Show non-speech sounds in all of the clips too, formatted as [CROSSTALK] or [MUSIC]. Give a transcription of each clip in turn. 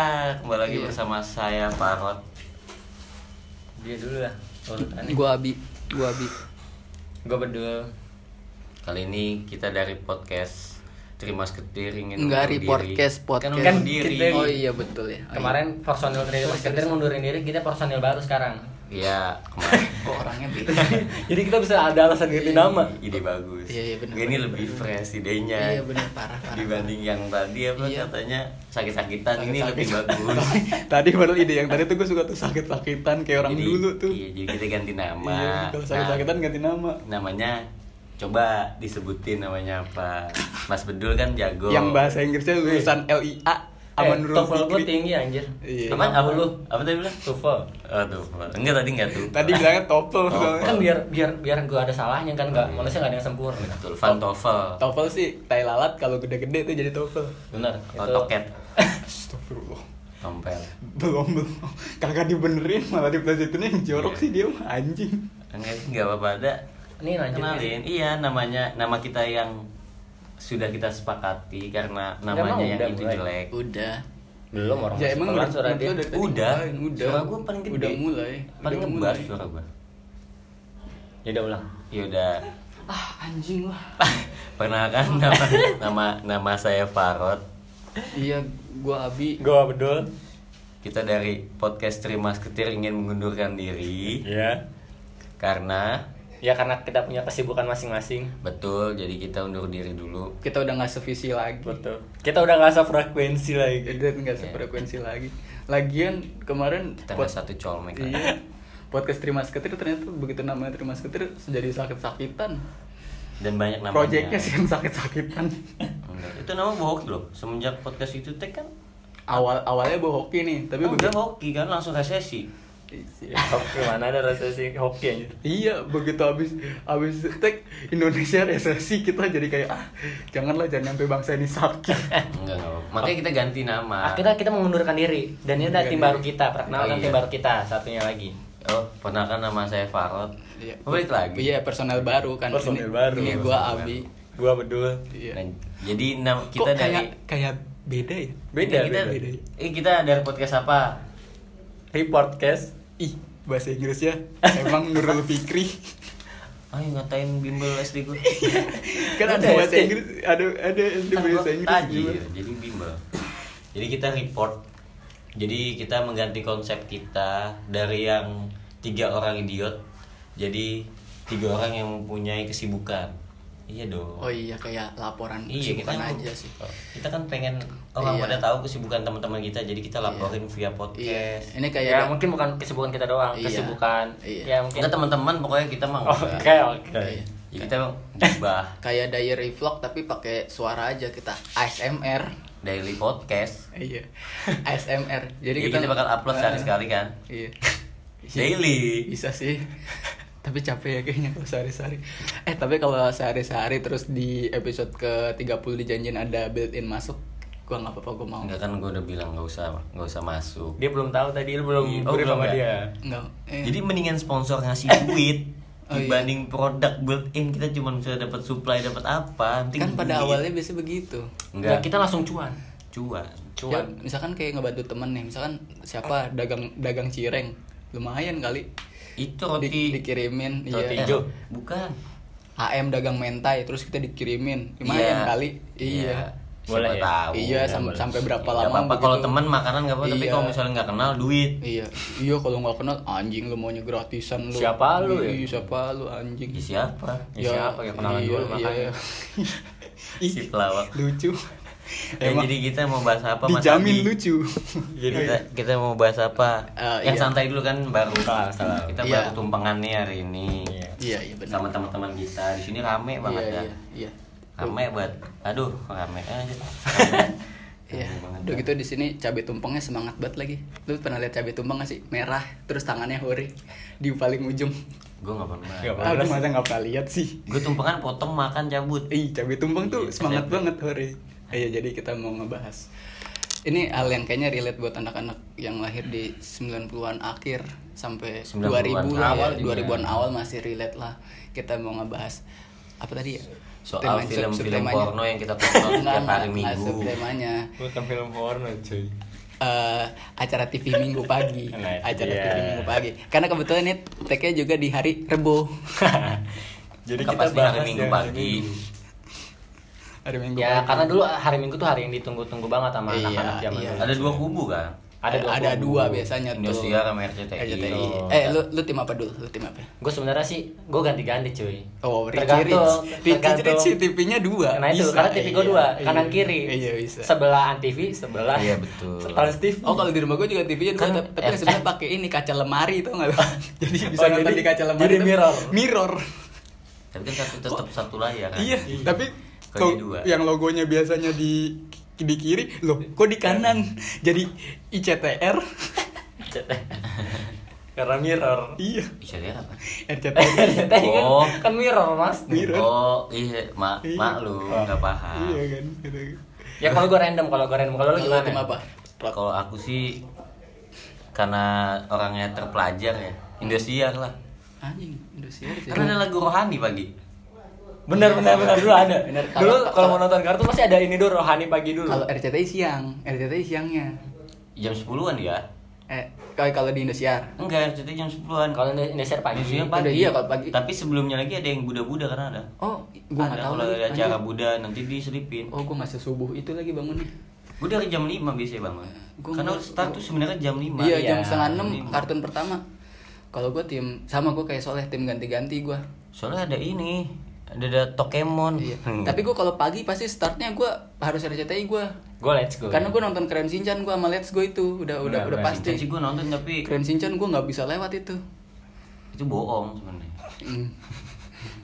Ah, kembali lagi Iya. bersama saya Parot. dia dulu lah Oh, urutannya Gua abi, gua abi. gue bedul Kali ini kita dari podcast Terima Seketir ingin Enggak, undur report diri. case, podcast. Kan Kan undur diri. kita- Oh iya betul ya. Oh, iya. kemarin personil dari mas Ketir mundurin diri kita personil baru sekarang [LAUGHS] Iya, kemarin. kok orangnya [LAUGHS] beda. [LAUGHS] jadi kita bisa ada alasan ganti nama Ide bagus. Iya, iya, benar, ini benar, lebih benar. fresh idenya. iya benar parah parah. Dibanding yang tadi apa Iya. katanya sakit-sakitan ini Sakit-sakitan. lebih [LAUGHS] bagus. [LAUGHS] tadi baru ide yang tadi tuh gue suka tuh sakit-sakitan kayak orang Jadi, dulu tuh Iya, jadi kita ganti nama. iya Nah, kalau sakit-sakitan ganti nama namanya coba disebutin namanya apa? Mas Bedul kan jago. yang bahasa Inggrisnya lulusan LIA eh, Aman Nurul TOEFL gue Fikri tinggi anjir Iya. Apa? Apa lu? Apa tadi bilang? TOEFL Oh, tuh. Enggak tadi enggak tuh. tadi bilangnya TOEFL soalnya. kan biar biar biar gue ada salahnya kan nggak manusia nggak ada yang sempurna Betul, Pantofel. TOEFL sih tai lalat kalau gede-gede tuh jadi TOEFL benar Atau toket. Astagfirullah Tompel. belum belum kakak dibenerin malah diplastikinnya yang jorok Iya. sih dia mah anjing Enggak, enggak apa-apa ada. Ini lanjut, Kenalin. Iya, namanya nama kita yang sudah kita sepakati karena Enggak namanya mau, yang udah itu mulai. jelek. Udah. belum orang ya masih emang pelan udah- suara menurut dia lo dari tadi Udah. ngapain? udah Suara gua paling gede. udah mulai Paling Udah ngebar mulai. suara gua. ya udah ulang Ya udah. Ah anjing lah. Perkenalkan [LAUGHS] nama nama nama saya Farod. Iya, gua abi. gue bedul Kita dari podcast Terima Ketir ingin mengundurkan diri ya karena ya karena kita punya kesibukan masing-masing betul jadi kita undur diri dulu. Kita udah nggak sevisi lagi. Iya. betul kita udah nggak frekuensi lagi udah nggak sefrekuensi lagi lagian kemarin Kita pod- nggak satu colmek. lah. Iya. Podcast Terima Seketir ternyata begitu namanya Terima Seketir jadi sakit-sakitan. Dan banyak namanya. Projectnya sih yang sakit-sakitan. Enggak, Itu nama bohong loh. Semenjak podcast itu teh kan Awal awalnya bohoki nih, tapi Tapi Oh, begitu udah hoki kan langsung resesi. Iya. hoki mana ada resesi hoki anjir Iya, begitu abis abis tek Indonesia resesi kita jadi kayak ah, janganlah jangan sampai bangsa ini [LAUGHS] sakit. Enggak, enggak. apa-apa. Makanya kita ganti nama. akhirnya kita mengundurkan diri dan ini ada Mengundurkan tim baru kita Oh, perkenalkan iya. tim baru kita satunya lagi Oh, perkenalkan nama saya Farod. Iya. Balik lagi. Iya, personel baru kan. Personel ini, baru. Ini gua abi. gua berdua Iya. Nah, jadi nam- Kok kita dari kayak kayak beda ya? beda kita, beda, beda. ya? Eh, kita dari podcast apa? report case Ih, [LAUGHS] bahasa Inggrisnya emang Nurul Fikri. Ayo ngatain bimbel SD [LAUGHS] gue. kan ada Udah, bahasa SD. Inggris, ada ada SD Iya, Kan bahasa gua Inggris. tajir, gimana? jadi bimbel. Jadi kita report. Jadi kita mengganti konsep kita dari yang tiga orang idiot jadi tiga orang yang mempunyai kesibukan. Iya dong. Oh iya kayak laporan Iya kesibukan kita kan- aja sih. Kita kan pengen orang Iya. pada tahu kesibukan teman-teman kita, jadi kita laporin via Iya. podcast. Ini kayak ya mungkin bukan kesibukan kita doang Iya. kesibukan Iya. ya mungkin Enggak teman-teman pokoknya kita mah. [LAUGHS] oke enggak. oke Iya. Ya, kita emang gibah kayak diary vlog tapi pakai suara aja kita ASMR. daily podcast. Iya. ASMR. Jadi Jadi kita, Eh. kita, bakal upload sehari sekali kan. [LAUGHS] Iya. Daily. bisa [LAUGHS] sih tapi capek ya kayaknya kalau sehari-sehari eh tapi kalau sehari-sehari terus di episode ke 30 dijanjiin ada built-in masuk gua nggak apa-apa gua mau Enggak kan gue udah bilang nggak usah, nggak usah masuk. dia belum tahu tadi lu belum Iya. Oh, brief belum sama ya? dia nggak eh, Jadi mendingan sponsor ngasih duit Oh, iya. dibanding produk built-in kita cuma bisa dapat supply dapat apa. Penting kan pada duit. awalnya biasa begitu. Nah, enggak kita langsung cuan cuan. Ya, cuan misalkan kayak ngebantu temen nih, misalkan siapa dagang dagang cireng, lumayan kali. Itu Di- roti dikirimin, Roti iya. Eh, hijau. bukan. HM dagang mentai, terus kita dikirimin, Iya. lumayan kali. Iya. Siapa Boleh ya? tahu. Iya, sam- boleh. sampai berapa Nggak lama? apa-apa begitu. kalau teman makanan nggak apa-apa tapi Iya. kalau misalnya nggak kenal duit ya Iya, iya kalau nggak kenal anjing lu maunya gratisan lu. Siapa lu ya? Iya, siapa lu anjing? ya siapa Ya, Iya. siapa ya, kenalan dulu makanya. [LAUGHS] si pelawak lucu Eh, jadi kita mau bahas apa Mas dijamin Adi? lucu [LAUGHS] jadi Iya, kita, kita mau bahas apa Eh, yang iya. santai dulu kan baru Salah, salah. kita Iya. baru tumpengan nih hari ini Iya. Iya, iya benar. sama teman-teman kita di sini rame banget Iya, ya iya, iya. rame banget aduh rame aja [LAUGHS] Iya. Rame banget. ya? Udah gitu di sini cabai tumpengnya semangat banget lagi. Lu pernah lihat cabai tumpeng gak sih? Merah, terus tangannya hore di paling ujung. gue nggak pernah Nggak pernah. aduh masa nggak pernah lihat sih gue tumpengan potong makan cabut ih cabai tumpeng tuh Iya, semangat siapa? banget hore iya jadi kita mau ngebahas Ini hal yang kayaknya relate buat anak-anak yang lahir di 90-an akhir sampai 2000 90-an lah awal, awal ya, juga. 2000-an awal masih relate lah. Kita mau ngebahas apa tadi ya? soal Tema- film-film [LAUGHS] subtemanya. porno yang kita tonton Enggak, setiap hari enggak, minggu subtemanya. bukan film porno cuy eh, acara TV Minggu pagi, [LAUGHS] Nah, itu acara dia. TV Minggu pagi. Karena kebetulan ini tag-nya juga di hari Rebo. [LAUGHS] Jadi Bukan kita pasti bahas hari Minggu yang pagi. Hari Minggu Ya pagi. karena dulu hari Minggu tuh hari yang ditunggu-tunggu banget sama Iya, anak-anak zaman iya. dulu. Ada dua kubu kan? Ada dua. Eh, ada dua biasanya tuh. Indosiar sama RCTI. RCTI. Oh. Eh, lu lu tim apa dulu? Lu tim apa? Gue sebenarnya sih gue ganti-ganti cuy. Oh, Richie Rich. tergantung, Richie Rich tergantung. TV-nya dua. Nah itu Bisa, karena TV gue iya, dua iya. kanan kiri. Iya, bisa. Sebelahan TV sebelah. Iya, betul. Trans TV. Oh kalau di rumah gue juga TV-nya dua, Kan, tapi- tapi eh, sebenarnya pakai ini kaca lemari tuh nggak lo? [LAUGHS] jadi bisa Oh, nonton jadi- di kaca lemari. jadi tapi- mirror. Mirror. Tapi kan satu tetap satu Nah, layar kan? iya. Tapi Kalau kalau di dua. yang logonya biasanya di di kiri, loh kok di kanan? [LAUGHS] Jadi ICTR. karena [LAUGHS] mirror. iya. Bisa lihat apa? [LAUGHS] RCTI. [LAUGHS] Tadi kan- Oh. kan mirror mas. Mirror. Oh, iya, mak mak lu nggak paham. iya kan. gitu. Ya kalau gue random kalau gue random kalau lu Kalau gimana? tim apa? Ya, Kalau aku sih karena orangnya terpelajar ya, Indosiar lah. Anjing, Indosiar. sih. Karena ada lagu rohani pagi. Bener bener bener dulu ada. Bener, kalau- dulu kalau mau nonton kartu pasti ada ini dulu rohani pagi dulu. Kalau RCTI siang, RCTI siangnya. Jam 10-an ya? Eh, kalau kalau di Indosiar. Enggak, RCTI jam 10-an. Kalau Indo- Indonesia pagi. Indosiar pagi. Udah iya kalau pagi. Tapi sebelumnya lagi ada yang Buddha-Buddha karena ada. Oh, gua nggak ada tahu kalau lagi, ada acara anjing. Buddha nanti diselipin. Oh, gua nggak sesubuh itu lagi bangunnya. Gue dari jam 5 biasanya bangun. Gua Karena mau- start tuh sebenarnya jam 5. Iya, jam iya, setengah enam lima. kartun pertama. Kalau gua tim sama gua kayak Soleh tim ganti-ganti gua. Soalnya ada ini, ada, ada Hmm. Pokemon. [LAUGHS] [LAUGHS] Iya. Tapi gua kalau pagi pasti startnya gua harus RCTI gua. Gue let's go. Karena gua nonton Keren Shinchan gua sama Let's Go itu udah udah Benar, udah benar. pasti. sih gue nonton tapi Keren Shinchan gua nggak bisa lewat itu. itu bohong sebenarnya. [LAUGHS] Hmm.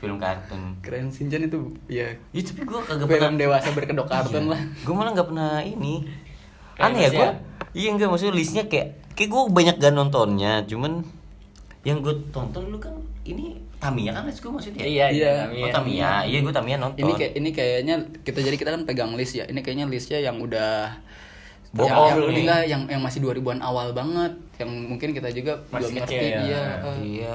Film kartun. Keren Shinchan itu ya Ya, tapi gue kagak pernah film dewasa berkedok kartun lah. Gue malah nggak pernah ini. Kayak Aneh ya list gue. ya? Iya enggak maksudnya listnya kayak kayak gue banyak gak nontonnya, cuman yang gue tonton lu kan ini Tamiya kan let's go maksudnya. Iya Iya. Oh Tamiya, iya gue Tamiya nonton. Ini kayak ini kayaknya kita jadi kita kan pegang list ya. Ini kayaknya listnya yang udah Bohong yang, yang, lu nih. enggak, yang yang masih 2000-an awal banget yang mungkin kita juga Masih belum kecil ngerti ya. iya. eh. Iya.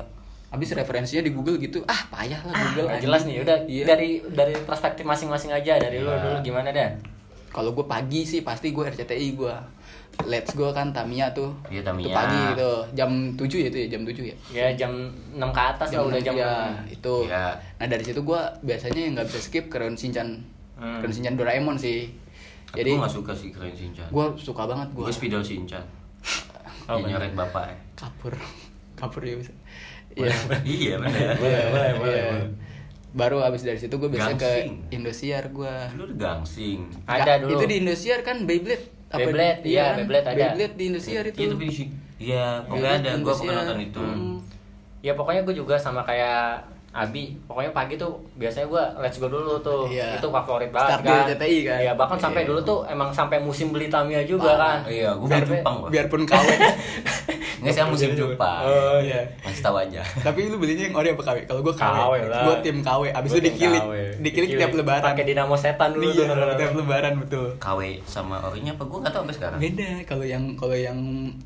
Abis referensinya di Google gitu. Ah, payah lah Google. Gak anjing. jelas nih udah Iya. dari dari perspektif masing-masing aja dari lu dulu gimana dah? Kalau gue pagi sih pasti gue RCTI gue. Let's go kan Tamiya tuh. Iya, Itu Tamiya. pagi gitu. Jam 7 ya itu ya, jam 7 ya. Ya jam 6 ke atas lah udah jam ya, 6. itu. Iya. Nah, dari situ gue biasanya yang nggak bisa skip Keren Shinchan. Hmm. Keren Shinchan Doraemon sih. Jadi Jadi gue gak suka sih keren Shinchan. gue suka banget gue. Gue spidol Shinchan. Oh, Yang nyoret bapak. ya. [LAUGHS] kabur kabur ya bisa iya [LAUGHS] iya [LAUGHS] benar. Boleh, boleh, Iya. boleh, boleh. baru abis dari situ gue biasanya ke Gangsing. Indosiar gue Lu udah gangsing. Ada dulu. itu di Indosiar kan Beyblade Beyblade, di- iya, kan? Beyblade ada. Beyblade di Indosiar itu Hmm. Iya tapi di sini. Iya, pokoknya ada. Gue pernah nonton itu. Ya pokoknya gue juga sama kayak Abi, pokoknya pagi tuh biasanya gue let's go dulu tuh, Iya. itu favorit banget Start kan. dari CTI kan? Iya bahkan Iya. sampai dulu tuh emang sampai musim beli Tamiya juga Parah. kan. Iya, gue Biar- beli Jepang. gua. biarpun KW Nggak sih musim Jepang. Oh, iya. Masih tahu aja. [LAUGHS] tapi lu belinya yang ori apa KW kalau gue KW, KW lah. gue tim KW abis Gua itu tim dikilik KW. dikilik tiap lebaran Pakai dinamo setan dulu. iya tuh. tiap lebaran betul KW sama orinya apa gue nggak tahu sampai sekarang. beda kalau yang kalau yang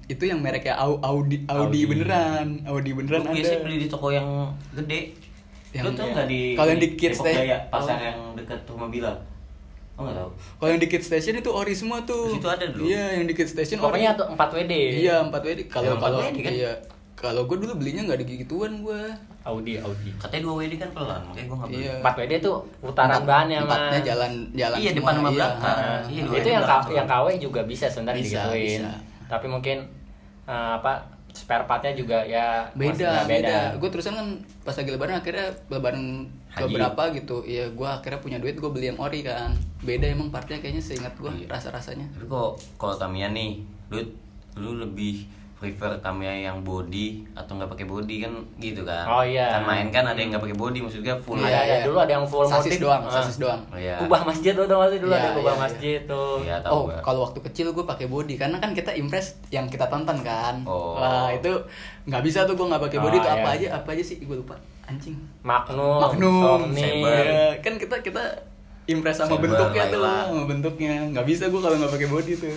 itu yang mereknya Au- Audi Audi. Audi beneran Audi beneran Lu ada biasanya beli di toko yang gede. Yang- Lu tau iya. nggak di Kalau yang di Kids Depok Teh. Jaya, pasar Oh. yang dekat rumah Bila. Oh nggak tahu. Kalau yang di Kids Station itu ori semua tuh. Di situ ada dulu. Iya, yang di Kids Station ori. Pokoknya tuh 4 WD. Iya, 4 WD. Kalau Yang 4 kalau WD kan? iya. Kalau gue dulu belinya nggak di gituan gue. Audi, Audi. Katanya dua WD kan pelan, makanya gue nggak beli. Iya. 4 WD tuh putaran Empat- bahannya mas. Empatnya jalan jalan ya, Iya, semua. depan sama belakang. Ah. Iya, dua itu WD yang K- belakang. yang KW juga bisa sebenarnya Bisa, digituin. bisa. Tapi mungkin eh, apa spare partnya juga ya Beda, maksudnya beda. Gue terusan kan pas lagi lebaran akhirnya lebaran Haji. keberapa gitu. Iya, gue akhirnya punya duit gue beli yang ori kan. Beda emang partnya kayaknya seingat gue Iya. rasa-rasanya. Tapi kok kalau Tamiya nih, lu lu lebih prefer Tamiya yang body atau nggak pakai body kan gitu kan? Oh, iya. Kan main kan ada yang nggak pakai body, maksudnya full. Iya. Ada, ada. Dulu ada yang full sasis motif. doang, Ah. sasis doang. Iya. Kubah masjid tuh tau gak sih dulu Iya, ada kubah iya, masjid tuh. Iya, tahu Oh, gua. kalau waktu kecil gue pakai body karena kan kita impress yang kita tonton kan. Oh. Wah, itu nggak bisa tuh gue nggak pakai body Ah, tuh apa iya. Oh, aja apa aja sih gue lupa. Anjing. Magnum, Magnum, Sony. Saber. Iya, kan kita kita impress sama Saber, bentuknya tuh, Laila. sama bentuknya. Nggak bisa gue kalau nggak pakai body tuh.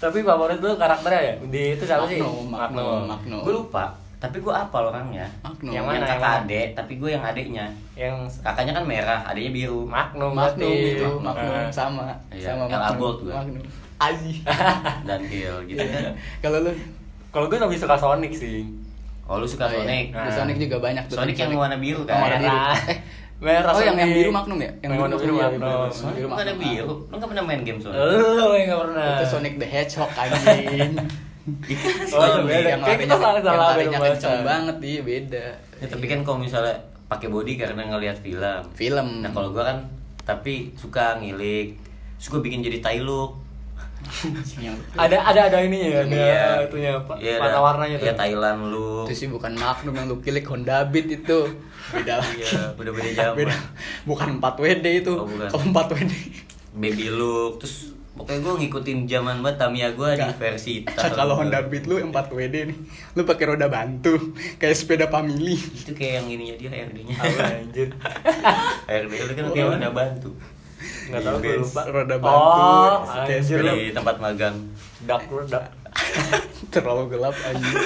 Tapi favorit lu karakternya ya? Di itu siapa sih? Magnum, Magnum, Magnum. Gue lupa, tapi gue apal orangnya. Magnum. Yang, Yang mana, yang kakak mana? adek, tapi gue yang adeknya. Yang Kakaknya kan merah, adeknya biru. Magnum, Magnum berarti. itu, Magnum Ah. sama, Iya, sama LA Gold gua. Magnum. Aji. dan Hill gitu kan. Kalau lu Kalau gue lebih suka Sonic sih. Oh lu suka Oh, iya. Sonic? Nah. Di Sonic juga banyak tuh. Sonic yang warna biru Yang warna kan? biru. Merah. Eh, Merah. Oh, yang yang Sonic. biru Magnum ya? Yang warna biru Magnum, iya, Magnum. bener-bener. Sonic Biru Oh. bukan ada Magnum. biru. Lu nggak pernah main game Sonic? Lu Oh, yang gak pernah. Itu Sonic the Hedgehog anjing. Oh, iya, beda. yang Kayak larinya, kita salah- yang salah larinya beda kenceng bahasa. banget dia beda. [LAUGHS] Ya, tapi kan kalau misalnya pakai body karena ngelihat film. Film. Nah kalau gua kan tapi suka ngilik, suka bikin jadi tai look. Anjing, yang- Ada ada ada ininya ya. Ada itunya apa? Iya, ada- warna-warnanya tuh. Iya Thailand lu. Itu sih bukan Magnum yang lu kilik Honda Beat itu. Beda lagi. Iya, [LAUGHS] beda-beda zaman. Beda. Bukan 4 WD itu. Oh, bukan. Kalau 4 WD. Baby look, terus pokoknya gua ngikutin zaman banget Tamiya gua di Nggak. versi Thailand. [LAUGHS] Kalau Honda Beat lu 4 WD nih. Lu pakai roda bantu kayak sepeda family. itu kayak yang ininya dia HRD-nya. Apa, ya? anjir. HRD lu Oh, kan kayak udah bantu. Enggak tahu gue lupa. Iya, Roda Oh, bantu, kayak anjir lu. Di tempat magang. Dark, dark. [LAUGHS] Terlalu gelap anjing.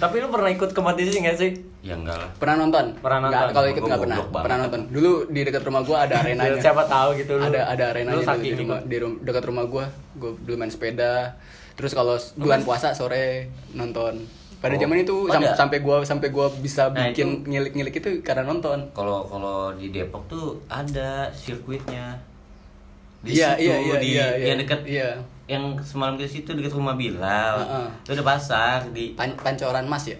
Tapi lu pernah ikut kompetisi gak sih? Ya enggak lah. Pernah nonton? Pernah nonton. Nggak, kalau ikut Gua nggak pernah. goblok banget. Pernah nonton. Dulu di dekat rumah gua [LAUGHS] ada arenanya. Siapa tahu gitu lu. Ada ada arenanya dulu Lu gitu. di saking rumah ikut. di rum- dekat rumah gua. Gua dulu main sepeda. Terus kalau s- bulan puasa sore nonton. Pada Oh. zaman itu Oh, sam- ada? sampai gua sampai gua bisa Nah, bikin ngilik-ngilik itu karena nonton. Kalau kalau di Depok tuh ada sirkuitnya. Di Iya, situ, iya, iya, di iya, iya. yang dekat Iya. yang semalam ke situ dekat rumah Bilal. Heeh. Itu ada pasar di Pan- pancoran Mas ya?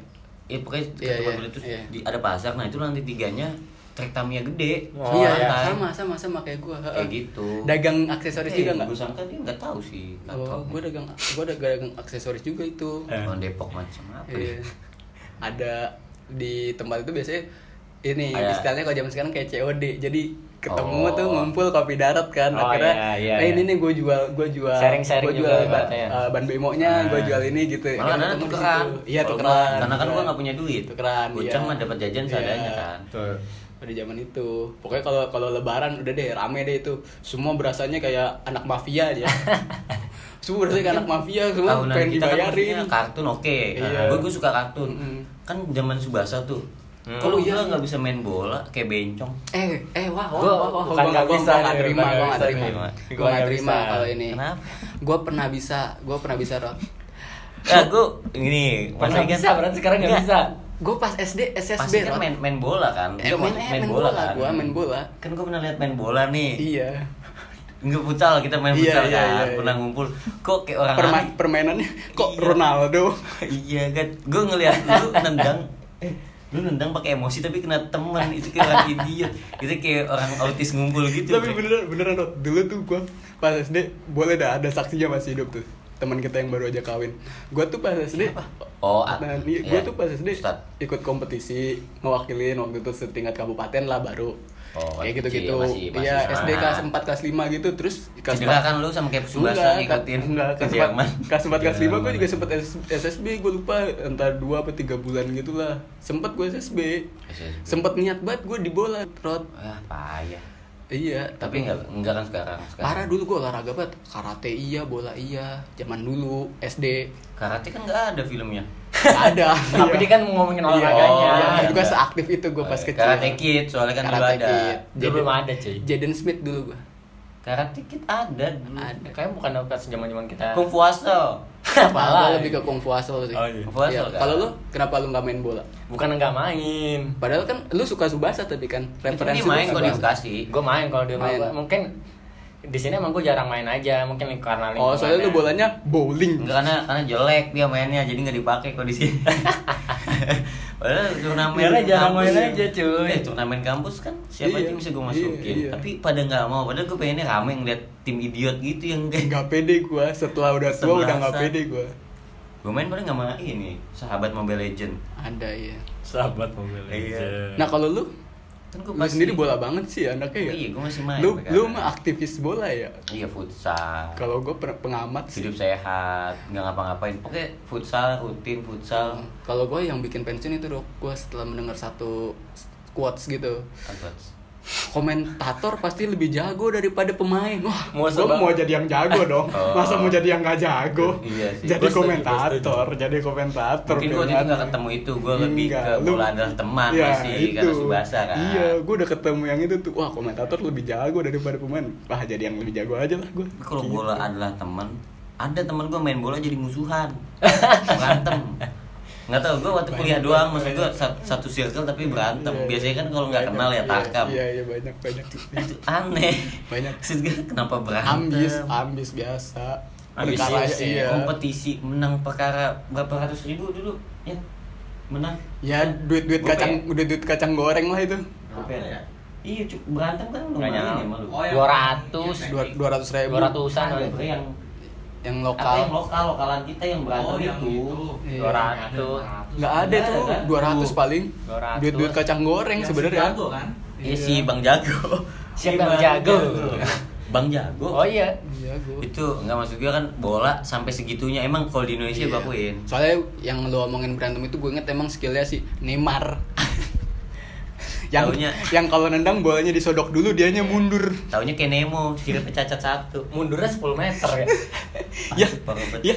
ya pokoknya dekat Iya, rumah iya, Bilal itu iya. di, ada pasar. Nah, itu lantai tiganya trek tamia gede. Oh, iya, Lantai. iya. sama sama sama kayak gua. heeh. Kayak gitu. Dagang aksesoris Eh, juga nggak? Gue sangka dia nggak tahu sih. Oh, gua dagang gua ada dagang aksesoris juga itu. Kalau Depok macam apa? ya? Iya. [LAUGHS] Ada di tempat itu biasanya ini Ah, iya. Ada. istilahnya kalau zaman sekarang kayak COD. Jadi ketemu Oh. tuh ngumpul kopi darat kan. Oh, Akhirnya iya, eh, iya, ini iya. nih gue jual gue jual Sharing-sharing gua juga jual ban, ibaratnya. ya. eh, ban bemonya, gue Ah. jual ini gitu. Malah Akhirnya karena ketemu di tukeran. situ. Iya, Kalau tukeran. gua- Karena kan gue nggak punya duit. Tukeran. Bocah iya. mah dapat jajan Iya. seadanya kan. Tuh. Pada zaman itu. Pokoknya kalau kalau lebaran udah deh rame deh itu. Semua berasanya kayak anak mafia [LAUGHS] aja. semua berasanya kayak anak mafia, semua tahunan pengen kita kan dibayarin. maksudnya kartun oke Iya. gue gue suka kartun Mm-mm. kan zaman subasa tuh Hmm. kalau Oh, iya, gua nggak bisa main bola kayak bencong Eh, eh, wah, wah, Gua wah, wah, bukan gua nggak gua- bisa gua nggak nih, terima, bukan gua nggak nggak bisa terima, terima. gua Gua nggak nggak terima bisa. kalau ini. Kenapa? Gua pernah bisa, gua pernah bisa Rod. ya gue ini Nah, Pernah bisa, berarti sekarang nggak bisa. Gua pas SD SSB kan pasti kan Rod. main main bola kan Eh, Lu main- eh, main bola, kan gua main bola. kan gue pernah lihat main bola nih Iya. nggak futsal kita main Iya, futsal iya, kan iya, pernah iya. ngumpul kok kayak orang Perma- permainannya kok Iya. Ronaldo. aneh. iya kan gue ngelihat lu nendang eh, lu nendang pakai emosi tapi kena teman itu kayak [LAUGHS] orang idiot itu kayak orang autis ngumpul gitu Tapi beneran beneran Rod. Dulu tuh gua pas SD boleh dah ada saksinya masih hidup tuh. Teman kita yang baru aja kawin. Gua tuh pas SD Oh, ah, Nah, iya. iya, gua tuh pas SD Ustad. ikut kompetisi mewakilin waktu itu setingkat kabupaten lah baru. Oh, kayak kecil, gitu-gitu. masih- masih Iya, semangat. SD kelas 4 kelas 5 gitu terus kelas Cedera empat- kan lu sama kayak Enggak, Subasa kelas- ngikutin enggak, kelas Jerman. 4 kelas 4 kelas 5 gue Jerman. juga sempet S- SSB gue lupa entar 2 apa 3 bulan gitu lah sempet gue SSB SSB. sempet niat banget gue di bola trot Ah, payah. iya Tapi enggak enggak kan sekarang. sekarang. parah dulu gue olahraga banget karate iya bola iya zaman dulu [LAUGHS] SD Karate kan enggak ada filmnya. Nggak ada Tapi dia kan ngomongin Iya, olahraganya. Nah, iya, iya. gue seaktif itu gue pas Eh, kecil Karate Kid soalnya kan dulu Karate ada. Kid. Dia belum ada, cuy. Jaden Smith dulu [LAUGHS] gue Karate Kid ada dulu. Ada. Kayaknya bukan pas zaman-zaman kita. Kung Fu Hustle. Kepala Apalagi. lebih ke kung fu asal sih. Oh, iya. Kung Fu asal, kan? Kalau lu kenapa lu nggak main bola? Bukan nggak main. Padahal kan lu suka Subasa tapi kan Itu referensi dia lu main kalau di Tsubasa. Bekasi. Gue main kalau di rumah Main. gua. Mungkin di sini emang gue jarang main aja. Mungkin karena Oh, soalnya lu lingkungannya. bolanya bowling. Enggak karena karena jelek dia mainnya jadi enggak dipakai kok di [LAUGHS] sini. Padahal turnamen Karena jarang kampus- main aja, cuy. Eh, turnamen kampus kan siapa Iya, aja bisa gue iya, masukin. iya. Tapi pada nggak mau. Padahal gue pengennya rame ngeliat tim idiot gitu yang kayak Enggak pede gua setelah udah tua udah nggak Sebelasan. pede gua. gue main paling nggak main ini sahabat Mobile Legend. Ada ya. Sahabat mobil Iya. Nah, kalau lu Kan lu sendiri bola banget sih anaknya ya. Iya, gua masih main Lu sampai lu sekarang. mah aktivis bola ya. Iya futsal. Kalau gua per- pengamat sih. hidup sehat nggak ngapa-ngapain pokoknya futsal rutin futsal Kalau kan gua yang bikin pensiun itu dok, gua setelah mendengar satu quotes gitu. apa komentator pasti lebih jago daripada pemain. Wah, Mau gua sebab- mau jadi yang jago dong. [LAUGHS] Oh. Masa mau jadi yang gak jago? Iya sih. Gua setuju, Jadi gua komentator, jadi komentator. Mungkin gue pilihannya. itu gak ketemu itu, gue lebih Enggak, ke Iya, lu- bola adalah teman Iya, masih karena itu. subasa kan. Iya, gue udah ketemu yang itu tuh. Wah, komentator lebih jago daripada pemain. Wah, jadi yang lebih jago aja lah Gitu. gue. Tapi Kalau bola adalah teman, ada teman gue main bola jadi musuhan, [LAUGHS] berantem. Nggak tau, gue waktu kuliah doang, maksud gue sat- satu circle tapi berantem. Iya, iya. Biasanya kan kalau nggak Banyak, kenal ya iya, takam. Iya, iya banyak banyak. Itu aneh. Banyak. Maksud gue kenapa berantem? ambis, ambis biasa. Ambisius Perkara aja, ya, iya. Kompetisi menang perkara berapa ratus ribu dulu, ya menang. Ya duit-duit Gua kacang, duit-duit kacang goreng lah itu. Apa ya? Iya, cuk- berantem kan lumayan ya Nggak nyala. malu. Oh, yang- dua ratus Dua dua ratus ribu. dua ratusan Ada bre yang Yang lokal. yang lokal. lokal lokalan kita yang berantem Oh, yang itu. itu. Iya. dua ratus Nggak ada Nggak tuh, ada, kan? dua ratus paling. 200. Duit-duit kacang goreng Yang sebenarnya. Chicago, kan? Iya si Bang Jago. Si Bang Jago. [LAUGHS] Bang Jago. oh iya Iya, gua. Itu nggak maksud gue kan bola sampai segitunya emang kalau di Indonesia Iya. gue akuin. Soalnya yang lo omongin berantem itu gue inget emang skillnya sih [LAUGHS] Neymar. yang Taunya. Iya. yang kalau nendang bolanya disodok dulu dianya mundur. Taunya kayak Nemo, siripnya cacat satu. mundurnya 10 meter [LAUGHS] ya Ya. Parah banget. Ya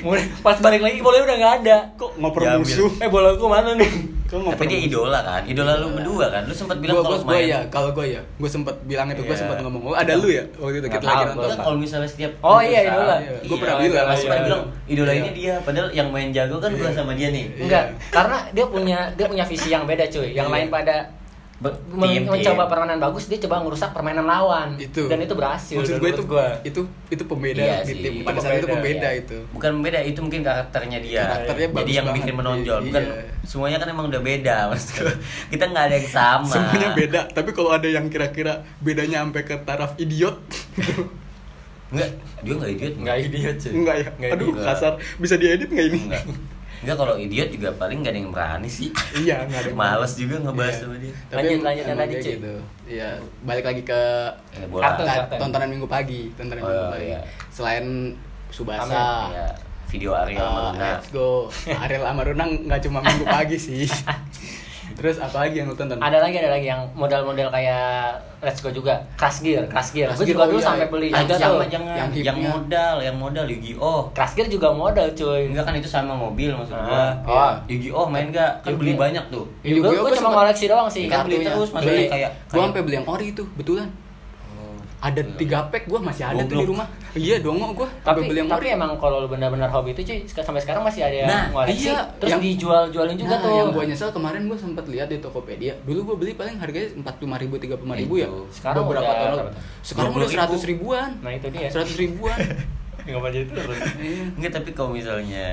Mulai- pas balik lagi bolanya udah nggak ada kok ngoper Diambil. musuh? eh bola gua mana nih Kok ngoper Tapi dia musuh? idola kan, idola lu berdua kan. Lu sempat bilang Gua- kalau gua- gua ya, main. kalau gue ya, gue sempet bilang itu, gue Iya. sempet ngomong, oh, ada lu ya waktu itu Nggak kita lagi tahu, nonton. Kan kalau misalnya setiap Oh, perusahaan, iya, idola. iya. Gua pernah Iya, bilang, Mas pernah iya. bilang idola ini Iya. dia, padahal yang main jago kan gua sama dia nih. enggak karena dia punya dia punya visi yang beda cuy yang Iya. lain pada Be- men- tim, tim. mencoba permainan bagus dia coba ngerusak permainan lawan Itu. dan itu berhasil Maksud dan gue menurut itu itu itu pembeda Iya di sih. tim. Itu Pada saat itu pembeda, pembeda iya. itu. bukan beda itu mungkin karakternya dia Karakternya jadi bagus yang banget. bikin menonjol Iya. bukan semuanya kan emang udah beda [LAUGHS] mas kita nggak ada yang sama Semuanya beda, tapi kalau ada yang kira-kira bedanya sampai ke taraf [LAUGHS] idiot, nggak dia nggak idiot nggak idiot cuy enggak ya? Nggak Aduh, idiot. kasar. Bisa diedit nggak ini? nggak nggak kalau idiot juga paling nggak ada yang berani sih [LAUGHS] Iya, nggak ada. yang- males juga ngebahas Iya. sama dia Tapi Lanjut, em- lanjut yang emang tadi, dia Ci. gitu. Iya, balik lagi ke eh, bola Kartu. ta- Karten. tontonan minggu pagi, tontonan Oh, minggu pagi. iya. Selain Subasa, Iya, video Ariel sama Ah, Luna Let's go. Ariel sama Runang nggak cuma minggu pagi [LAUGHS] sih. Terus apa lagi yang lu tonton? ada lagi ada lagi yang model-model kayak let's go juga crash gear crash gear Crash Gear, gue juga oh dulu iya. sampai beli Ah, juga jangan, jangan. tuh yang yang, hipnya. modal yang modal Yu-Gi-Oh crash gear juga modal cuy enggak kan itu sama mobil maksud Ah, gua Iya. oh. Yu-Gi-Oh main nggak kan beli Yu-Gi-Oh. banyak tuh Yu-Gi-Oh Yu-Gi-Oh gue gua cuma sempet- koleksi doang sih Kan beli terus, maksudnya kayak- Gue kayak- Oh, sampai beli yang ori itu, betulan. Ada tiga pack gue masih ada tuh di Goblok. rumah. Iya, dongo gue. tapi beli yang tapi emang kalau lu benar-benar hobi itu cuy sek- sampai sekarang masih ada yang Nah, ngoleksi iya. terus Yang- dijual-jualin juga nah, tuh yang gue nyesel kemarin gue sempat lihat di Tokopedia. Dulu gue beli paling harganya empat puluh ribu, tiga puluh ribu ya. Itu. Sekarang beberapa udah tahun berapa lalu. tuh? Sekarang udah 20.000. seratus ribuan. Nah, itu dia. Seratus [LAUGHS] ribuan. Kenapa jadi turun? Iya. Enggak tapi kalau misalnya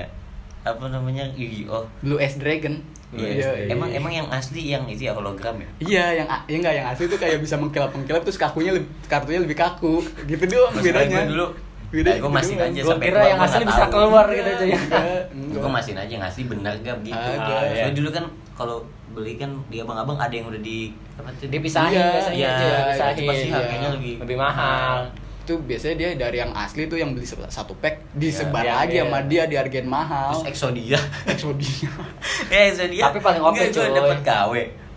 apa namanya Yu-Gi-Oh Blue S Dragon. Iya, emang emang yang asli yang itu ya hologram ya. Iya, yang a- ya enggak yang asli itu kayak bisa mengkilap-mengkilap terus kakunya lebih, kartunya lebih kaku. Gitu doang Maksudnya bedanya. gua dulu, eh, gua gitu masih doang. aja Gua sampai kira gua- yang gua asli nggak bisa tahu. keluar gitu aja ya. Enggak, enggak. Gue masih nanya ngasih bener gak gitu. Ada. Ah, Soalnya dulu kan kalau beli kan di abang-abang ada yang udah di apa tuh Dipisahin Iya, biasanya iya, cuy, iya, dipisahin. itu pasti harganya iya. lebih lebih mahal. Itu biasanya dia dari yang asli tuh yang beli se- satu pack disebar Iya, lagi iya. sama dia di harga mahal. Terus Exodia. Exodia. [LAUGHS] ya Exodia. Tapi paling oke, Nggak, gua coy. dapet KW.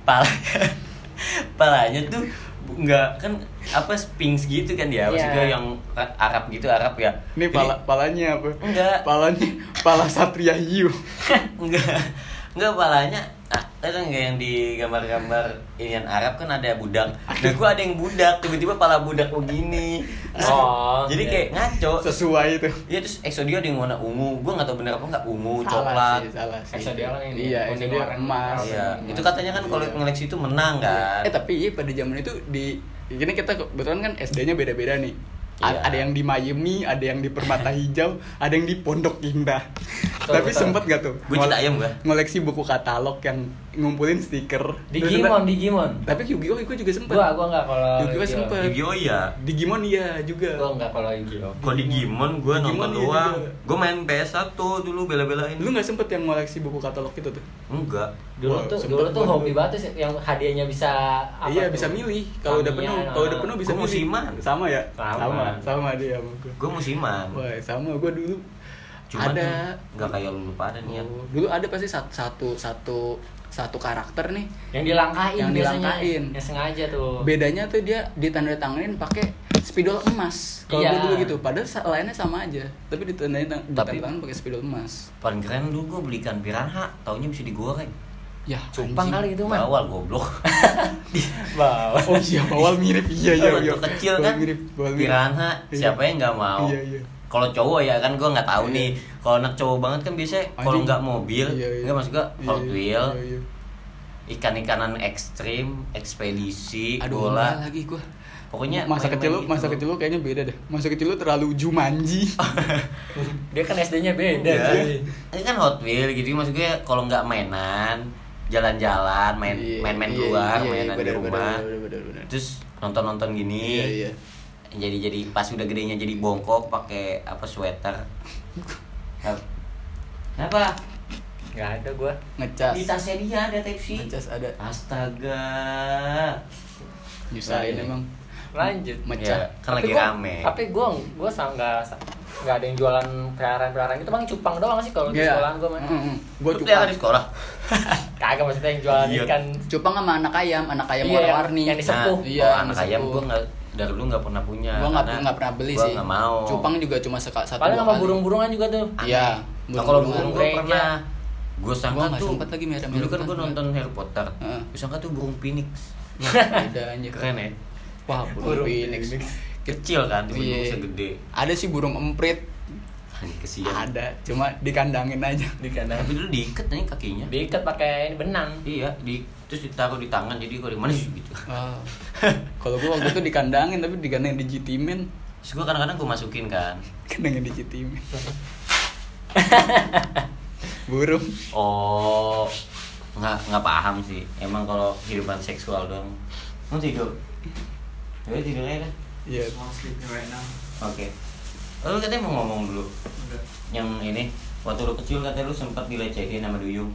Pala [LAUGHS] palanya tuh nggak kan apa sphinx gitu kan dia maksud Iya. gua yang Arab gitu Arab ya Ini Jadi- pala palanya apa? Enggak. [LAUGHS] Palanya pala Satria Hiu. enggak enggak palanya ah, ada enggak yang di gambar-gambar inian Arab kan ada budak nah gua ada yang budak tiba-tiba pala budak begini [LAUGHS] Oh, jadi iya. kayak ngaco Sesuai itu. Iya terus Exodia ada yang warna ungu, gua nggak tahu bener apa nggak ungu, Salah coklat. sih, salah sih. Exodia kan ini, Iya, kuning Exodia warna. emas. Iya, Emas. itu katanya kan kalau Iya. koleksi itu menang kan. Eh tapi iya, pada zaman itu di ini kita kebetulan kan SD-nya beda-beda nih. A- Iya. Ada yang di Miami, ada yang di Permata Hijau, ada yang di Pondok Indah. Betul, tapi betul. sempet gak tuh? Gua iya, ngole- cinta ayam gua. Ngoleksi buku katalog yang ngumpulin stiker. Digimon, Terus- Digimon. Tapi Yu-Gi-Oh gue juga kan- sempet. Gua gua enggak kalau Yu-Gi-Oh sempet. Yu-Gi-Oh iya. Digimon iya juga. Gua enggak kalau Yu-Gi-Oh. Kalau Digimon gua Digimon nonton iya doang. juga. Gua main PS1 dulu bela-belain. Lu nggak sempet yang ngoleksi buku katalog itu tuh? Enggak. Dulu Wah, tuh sempet dulu tuh gua hobi dulu. banget sih yang hadiahnya bisa apa iya tuh? bisa milih kalau udah penuh. Tamiya, ah. uh-huh. Kalau udah penuh bisa Gua milih. musiman. Sama ya? Sama. Sama, sama dia sama gue. Gua musiman. Wah, sama gue dulu. Cuman ada Iya. nggak kayak lu lupa ada nih ya. Oh, dulu ada pasti satu satu satu satu karakter nih yang dilangkain Yang biasanya. dilangkain. yang sengaja tuh bedanya tuh dia ditandai tanganin pakai spidol emas kalau Iya. gua dulu gitu padahal sa- lainnya sama aja tapi ditandai Tapi- tangan pakai spidol emas Paling keren dulu gue beli ikan piranha, taunya bisa digoreng. ya cupang kali anjing. itu mah Bawal goblok. bawa [LAUGHS] oh iya bawal mirip iya iya Waktu iya kecil Bawal kan mirip, bawal mirip. piranha Iya. siapa yang nggak mau Iya, iya. kalau cowok ya kan gue nggak tahu Iya. nih kalau anak cowok banget kan biasanya kalau Anjing. nggak mobil Iya, iya. nggak maksud gue Iya, Hot iya, Wheel iya, iya. ikan-ikanan ekstrim ekspedisi aduh bola bola lagi gua pokoknya masa main-main kecil lu gitu. masa kecil lu kayaknya beda deh masa kecil lu terlalu jumanji [LAUGHS] dia kan SD-nya beda Iya. cuy. ini kan Hot Wheel gitu maksud gue kalau nggak mainan jalan-jalan main Iya, main-main iya, keluar iya, iya, mainan di bener, bener, rumah bener, bener, bener. terus nonton-nonton gini iya iya jadi jadi pas udah gedenya jadi bongkok pakai apa sweater Hap. kenapa nggak ada gua ngecas di tasnya dia ada type C ngecas ada astaga Nah, nyusahin iya. emang lanjut mecah Ya, kan lagi gua, rame tapi gua gua sama nggak nggak ada yang jualan peliharaan peliharaan gitu bang cupang doang sih kalau di Iya. sekolahan gua mah Mm, mm. gue Gua cupang cupang di sekolah kagak maksudnya yang jualan Iya. ikan cupang sama anak ayam anak ayam Iya, yang- warna-warni yang disepuh. Nah, Iya, kalau yang anak ayam disepuh. gue nggak dari dulu nggak pernah punya gua nggak karena nggak pernah beli Nah, gua sih nggak mau cupang juga cuma seka, satu paling dua sama kali. burung-burungan juga tuh Aneh. Iya, Nah, kalau burung burung-burungan. gue gereja. pernah gue Gua sangka nggak tuh sempet lagi merah- dulu merah kan gue putih. nonton Harry Potter Heeh. gue sangka tuh burung phoenix ada anjir [LAUGHS] keren ya wah burung Burung phoenix kecil kan tiba-tiba Iya. bisa gede Iya. ada sih burung emprit Anjing, kesian Nah, ada cuma dikandangin aja di kandang tapi dulu diikat nih kakinya diikat pakai ini benang Iya, di terus ditaruh di tangan jadi kalau di mana sih gitu. Wow. kalau gua waktu itu dikandangin tapi dikandangin dijitimin Terus gue kadang-kadang gue masukin kan. kandangin [LAUGHS] dijitimin burung Oh, nggak nggak paham sih. Emang kalau kehidupan seksual doang. Mau tidur? Udah tidur aja kan? iya Small sleeping right now. Oke. Lalu katanya mau ngomong dulu. Udah. Yang ini waktu lu kecil katanya lu sempat dilecehin sama Duyung.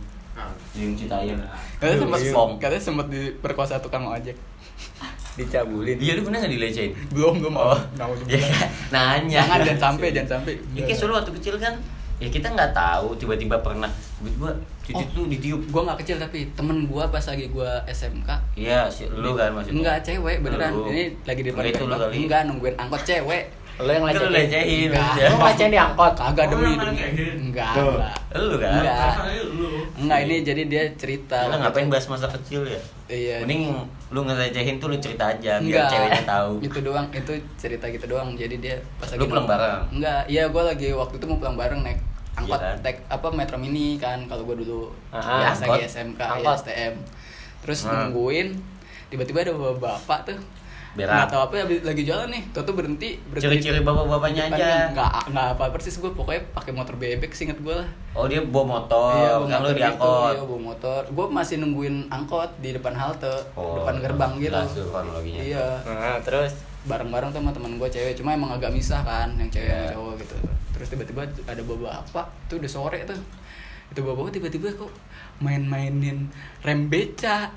Duyung Citayam. katanya Lu sempat spong. Iya. katanya sempat diperkosa tukang ojek dicabulin Iya, lu pernah nggak dilecehin? belum belum Oh, Nggak mau iya dibilang. kan? Nanya. jangan jangan sampai jangan sampai Ya kayak soalnya waktu kecil kan ya kita nggak tahu tiba-tiba pernah tiba-tiba cucu Oh. tuh ditiup gue nggak kecil tapi temen gue pas lagi gue SMK Iya, si lu kan maksudnya. enggak cewek beneran Lu. ini lagi di depan Enggak Nah, itu lu gerbang. kali. enggak nungguin angkot cewek lo yang Kan lu lecehin lecehin. Enggak. lo ngelacehin di angkot kagak Oh, demi yang demi kayak gini. enggak Tuh. lah Lu kan. enggak lu. enggak ini jadi dia cerita Lu ngapain bahas masa kecil ya? Iya. Mending lu ngelecehin tuh lu cerita aja biar Enggak. ceweknya tahu. itu doang itu cerita gitu doang jadi dia pas Lu pulang bareng? enggak iya gue lagi waktu itu mau pulang bareng naik angkot Iya kan? naik apa metro mini kan kalau gue dulu ya, Ah, angkot. lagi SMK ya, Angkot. STM terus Ah. nungguin tiba-tiba ada bapak tuh Berat. nggak tahu apa habis- lagi jalan nih tuh tuh berhenti berhenti Ciri-ciri bapak-bapaknya aja. nggak nggak apa persis gue pokoknya pakai motor bebek sih inget gue lah Oh, dia bawa motor, Iya, bawa kan lu motor diangkot. gitu, iya, bawa motor. Gue masih nungguin angkot di depan halte, Oh, depan gerbang gitu. jelas tuh kronologinya. Iya, nah, terus bareng-bareng tuh sama teman gue cewek, cuma emang agak misah kan yang cewek Iya. sama cowok gitu. Terus tiba-tiba ada bapak-bapak, tuh udah sore tuh. Itu bapak tiba-tiba kok main-mainin rem beca.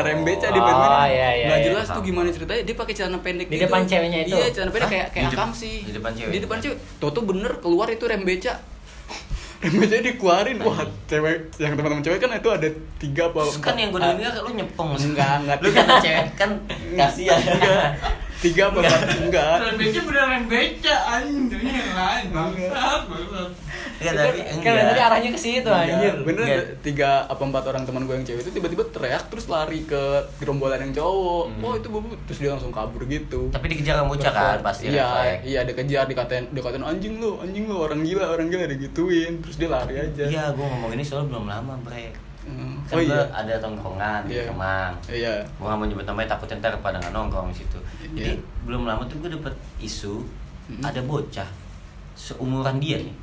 Oh, rem beca di oh, iya, iya, Nggak iya. jelas tuh gimana ceritanya, dia pakai celana pendek Di gitu. depan ceweknya itu? Iya, celana pendek Hah? kayak kayak Di dep- akam sih. di depan cewek? Di depan cewek. Tuh tuh bener keluar itu rem [LAUGHS] beca. Rem beca Nah. dikeluarin. Wah, cewek yang teman-teman cewek kan itu ada tiga apa Terus kan yang gue empat. Ah, dengar lu nyepong. Enggak, enggak. Lu kata cewek kan Iya. kasihan. tiga apa empat? enggak. Beneran beca beneran beca anjing Ini yang lain bangsat bangsat. Enggak Iya, tapi kan tadi enggak. arahnya ke situ Iya, Enggak, anjir bener Enggak. tiga apa empat orang teman gue yang cewek itu tiba-tiba teriak terus lari ke gerombolan yang cowok oh itu bobo terus dia langsung kabur gitu Hmm. Tapi dikejar sama bocah kan pasti iya refleks. iya dikejar dikatain dikatain anjing lu anjing lu orang gila orang gila digituin terus dia lari aja Iya, gue ngomong ini soalnya belum lama, Bre. Hmm. Kan oh gua iya ada tongkrongan di Iya. Kemang. iya gue gak mau nyebut namanya takut ntar pada nggak nongkrong di situ jadi Iya. belum lama tuh gue dapet isu Mm-mm. ada bocah seumuran dia nih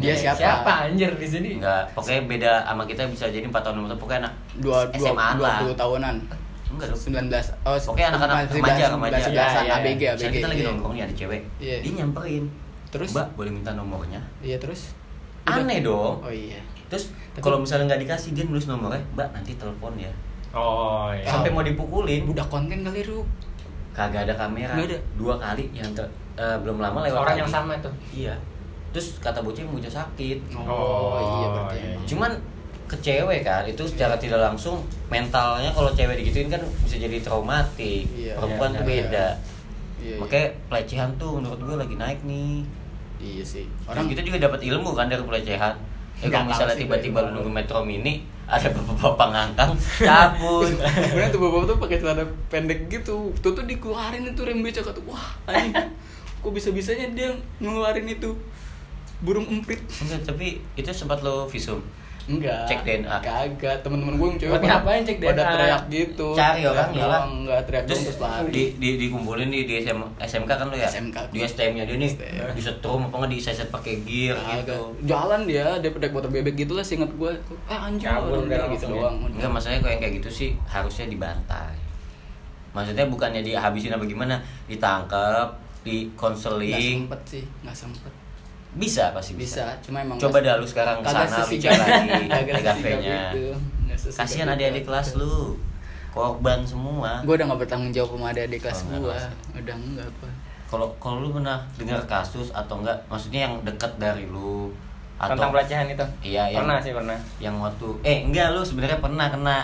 dia siapa, siapa anjir di sini nggak pokoknya beda sama kita bisa jadi 4 tahun 5 tahun pokoknya anak dua dua SMA dua lah puluh tahunan enggak dong sembilan belas oh Pokoknya anak-anak remaja, remaja. sebelas Iya, iya. abg Misalnya abg kita lagi iya. nongkrong nih ada cewek Iya. dia nyamperin Terus? mbak boleh minta nomornya iya terus aneh dong oh iya terus Tapi- kalau misalnya nggak dikasih dia nulis nomornya mbak nanti telepon ya oh iya sampai mau dipukulin udah konten kali Ruk kagak ada kamera Nggak ada. dua kali yang ter- eh, belum lama lewat orang lagi. yang sama tuh Iya. Terus kata bocah yang bocah sakit. oh, Oh, iya berarti iya, emang. Cuman ke cewek kan itu secara tidak langsung mentalnya kalau cewek digituin kan bisa jadi traumatik Iya, perempuan iya, tuh iya. beda Iya, iya. makanya pelecehan tuh menurut gue lagi naik nih Iya sih. orang kita juga dapat ilmu kan dari pelecehan ya Nggak kalau tahu misalnya sih, tiba-tiba Bay. lu nunggu metro mini ada bapak-bapak ngangkang [LAUGHS] cabut [LAUGHS] Sebenarnya tuh bapak tuh pakai celana pendek gitu. Tuh tuh dikeluarin itu rem becak tuh. Wah, anjing. Kok bisa-bisanya dia ngeluarin itu? Burung emprit. Enggak, tapi itu sempat lo visum Enggak. Cek DNA. Kagak. Temen-temen gue yang cewek Tapi ngapain cek Pada DNA? teriak gitu. cari Teriak orang lah doang, Enggak teriak doang terus terus lari. di, di dikumpulin di, di SM SMK kan lo ya SMK. di STM nya dia nih STM. disetrum apa nggak diseset pakai gear Kagak. gitu Jalan dia, dia pedek motor bebek gitu lah seinget gue. Eh anjing Kabur orang udah dia gitu langsung ya. doang. enggak masalahnya kalau yang kayak gitu sih harusnya dibantai maksudnya bukannya dihabisin apa gimana ditangkap Nggak dikonseling sempet sih, nggak sempet. bisa pasti bisa, Bisa, cuma emang coba nggak- dah lu sekarang ke kagak sana sesigap- bicara lagi [LAUGHS] kagak sesigap TKP-nya itu. Nggak sesigap kasihan itu. adik-adik kelas lu korban semua gue udah gak bertanggung jawab sama adik-adik kelas Oh, nggak gue kelas. udah enggak apa kalau kalau lu pernah dengar kasus atau enggak maksudnya yang dekat dari lu atau Tentang pelecehan itu. Iya, yang- Pernah sih pernah. yang waktu eh enggak lu sebenarnya pernah kena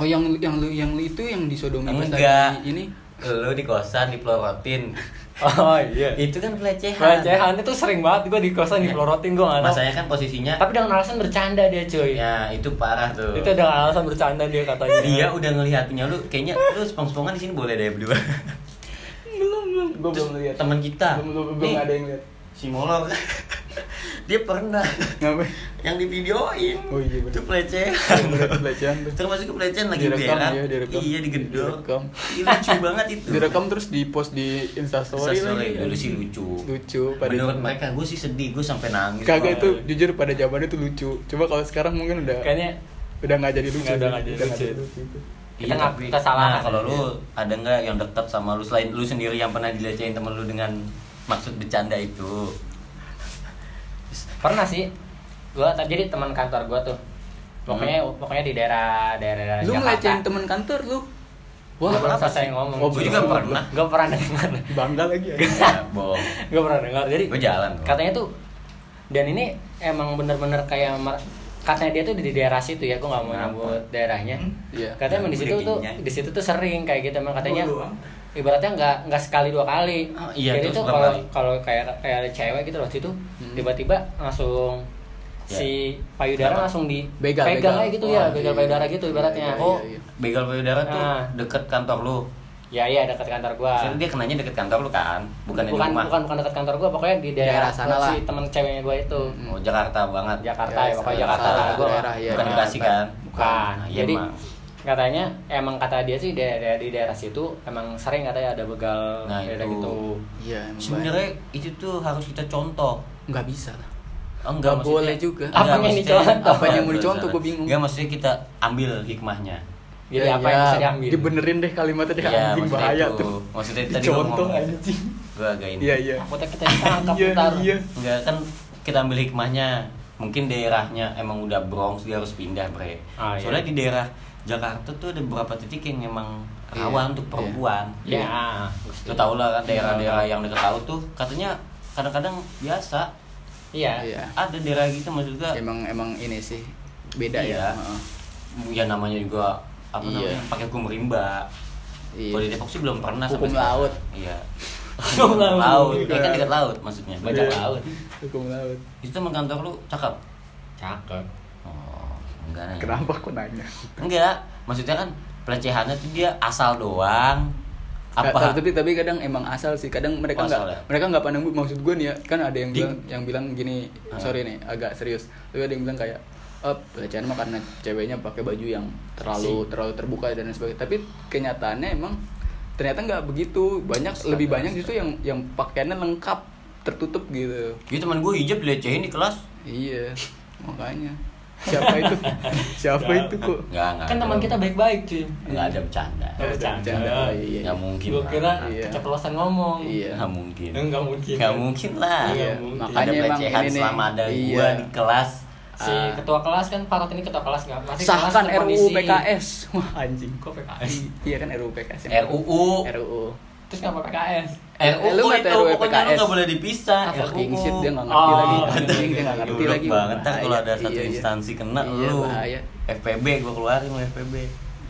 oh yang yang lu yang lu itu yang disodomi pas lagi enggak ini lu di kosan dipelorotin Oh iya. itu kan pelecehan Iya. Pelecehan itu sering banget gue di kosan dipelorotin gue nggak tahu. masanya kan posisinya Tapi dengan alasan bercanda dia cuy. ya itu parah tuh Itu dengan alasan bercanda dia katanya. dia udah ngelihatnya lu kayaknya lu spong-spongan di sini boleh deh berdua belum belum gue Terus teman kita belum belum, nih, ada yang lihat si molor [LAUGHS] dia pernah ngapain yang divideoin Oh iya, bener. itu pelecehan pelecehan tuh termasuk pelecehan lagi Direkam, berak iya, direkam. iya digedor Direkam. Ih, lucu banget itu direkam terus di post di instastory Instastory lagi dulu sih lucu lucu pada menurut mereka gue sih sedih gue sampai nangis kagak itu jujur pada zamannya tuh lucu coba kalau sekarang mungkin udah Kayaknya udah nggak jadi lucu Nggak, udah nggak jadi nggak lucu. Iya, Kita nggak- Iya. tapi- kita salah. Nah, kalau lu ada nggak yang dekat sama lu selain lu sendiri yang pernah dilecehin temen lu dengan maksud bercanda [LAUGHS] itu? pernah sih. Gue jadi teman kantor gue tuh. Pokoknya Hmm. pokoknya di daerah daerah lu Jakarta. ngelecehin temen kantor lu Wah, wah pernah selesai ngomong. Oh, gue juga belum. pernah. Gue pernah dengar. bangga lagi ya ya, bohong. Gue pernah dengar. Jadi Gue jalan. kok. katanya tuh dan ini emang bener-bener kayak mer- katanya dia tuh di daerah situ ya gue nggak mau Kenapa? Hmm? nyebut daerahnya Iya. katanya emang di situ tuh Berikinya. di situ tuh sering kayak gitu emang katanya Gua doang. ibaratnya nggak nggak sekali dua kali Oh, iya, jadi terus tuh berapa kalau kali? kalau kayak kayak ada cewek gitu loh situ Hmm. tiba-tiba langsung Ya. si payudara Kenapa? langsung di Begal, begal. pegang aja gitu ya Wah, begal iya. payudara gitu ibaratnya Iya, iya, oh iya. Begal payudara tuh Ah. deket kantor lu. ya iya dekat kantor gua Maksudnya dia kenanya deket kantor lu kan, bukan, di bukan rumah. bukan bukan dekat kantor gua pokoknya di Daerah daerah, sana si lah. Hmm. teman ceweknya gua itu Oh, Jakarta banget. Jakarta Ya, ya, pokoknya salah- Jakarta lah salah gua daerah, bukan di ya. Jakarta. Bekasi kan? Bukan. Nah, iya, Jadi Mak. katanya emang kata dia sih di daerah, di daerah situ emang sering katanya ada begal Nah, daerah itu. gitu. iya emang Sebenarnya itu tuh harus kita contoh. baik. nggak bisa lah Oh, Nggak Enggak maksudnya- boleh juga. Enggak, Apanya yang maksudnya- dicontoh? apanya Apanya mau dicontoh, gua bingung. Enggak maksudnya kita ambil hikmahnya. Jadi Ya, apa yang ya, bisa diambil? Dibenerin deh kalimatnya deh Iya, Ya, anjing maksudnya bahaya itu. tuh. Maksudnya tadi gua Dicontoh ngomong. anjing. Gua agak ini. Iya iya. Takutnya kita ditangkap Iya, ntar. iya. Enggak kan kita ambil hikmahnya. Mungkin daerahnya emang udah Bronx dia harus pindah, Bre. Ah, iya. Soalnya di daerah Jakarta tuh ada beberapa titik yang emang Iya, rawan untuk iya. perempuan. Ya. Lu tau lah kan daerah-daerah Iya. yang deket laut tuh katanya kadang-kadang biasa Iya. Iya. ada daerah gitu maksud gua Emang emang ini sih beda Iya. ya. Heeh. ya namanya juga apa Iya. namanya pakai hukum rimba Iya. kalau di Depok sih belum pernah Hukum sekarang. laut. iya [LAUGHS] Hukum laut. laut ya kan dekat laut maksudnya banyak Iya. laut Hukum laut. itu teman kantor lu cakep Cakep. oh enggak nanya Kenapa aku nanya? enggak maksudnya kan pelecehannya tuh dia asal doang Nggak, apa tapi tapi kadang emang asal sih kadang mereka Oh, nggak asal ya? mereka nggak pandang bu- maksud gue nih ya kan ada yang Di- bilang yang bilang gini Ah. sorry nih agak serius tapi ada yang bilang kayak eh pelecehan mah karena ceweknya pakai baju yang terlalu terlalu terbuka dan lain sebagainya tapi kenyataannya emang ternyata nggak begitu banyak ya, lebih banyak justru yang yang pakaiannya lengkap tertutup gitu gitu teman gue hijab dilecehin di kelas iya makanya siapa itu [LAUGHS] siapa Nah, itu Iya. kok enggak enggak Kan ada. teman kita baik-baik cuy. enggak ada bercanda Nggak bercanda. Oh, iya, iya. enggak mungkin Gue lah. kira Iya. keceplosan ngomong. Iya. enggak mungkin Enggak mungkin. enggak mungkin lah Iya, ada makanya emang pelecehan ini nih. selama ada Iya. gua di kelas Si Ah. ketua kelas kan Parot ini ketua kelas nggak masih kelas sahkan tuh RUU kondisi- PKS wah anjing Kok PKS? iya kan RUU PKS RUU RUU Terus kenapa PKS? Eh, RUU lu nggak itu tahu RUU pokoknya lu PKS. nggak boleh dipisah Ah, fucking RUU. shit dia nggak ngerti Oh, lagi. anjing, Anjing, dia [LAUGHS] nggak ngerti Goblok lagi. banget ntar kalau ada Bahaya. satu Iya, iya. instansi kena Iya, lu bahaya. FPB gua keluarin lu FPB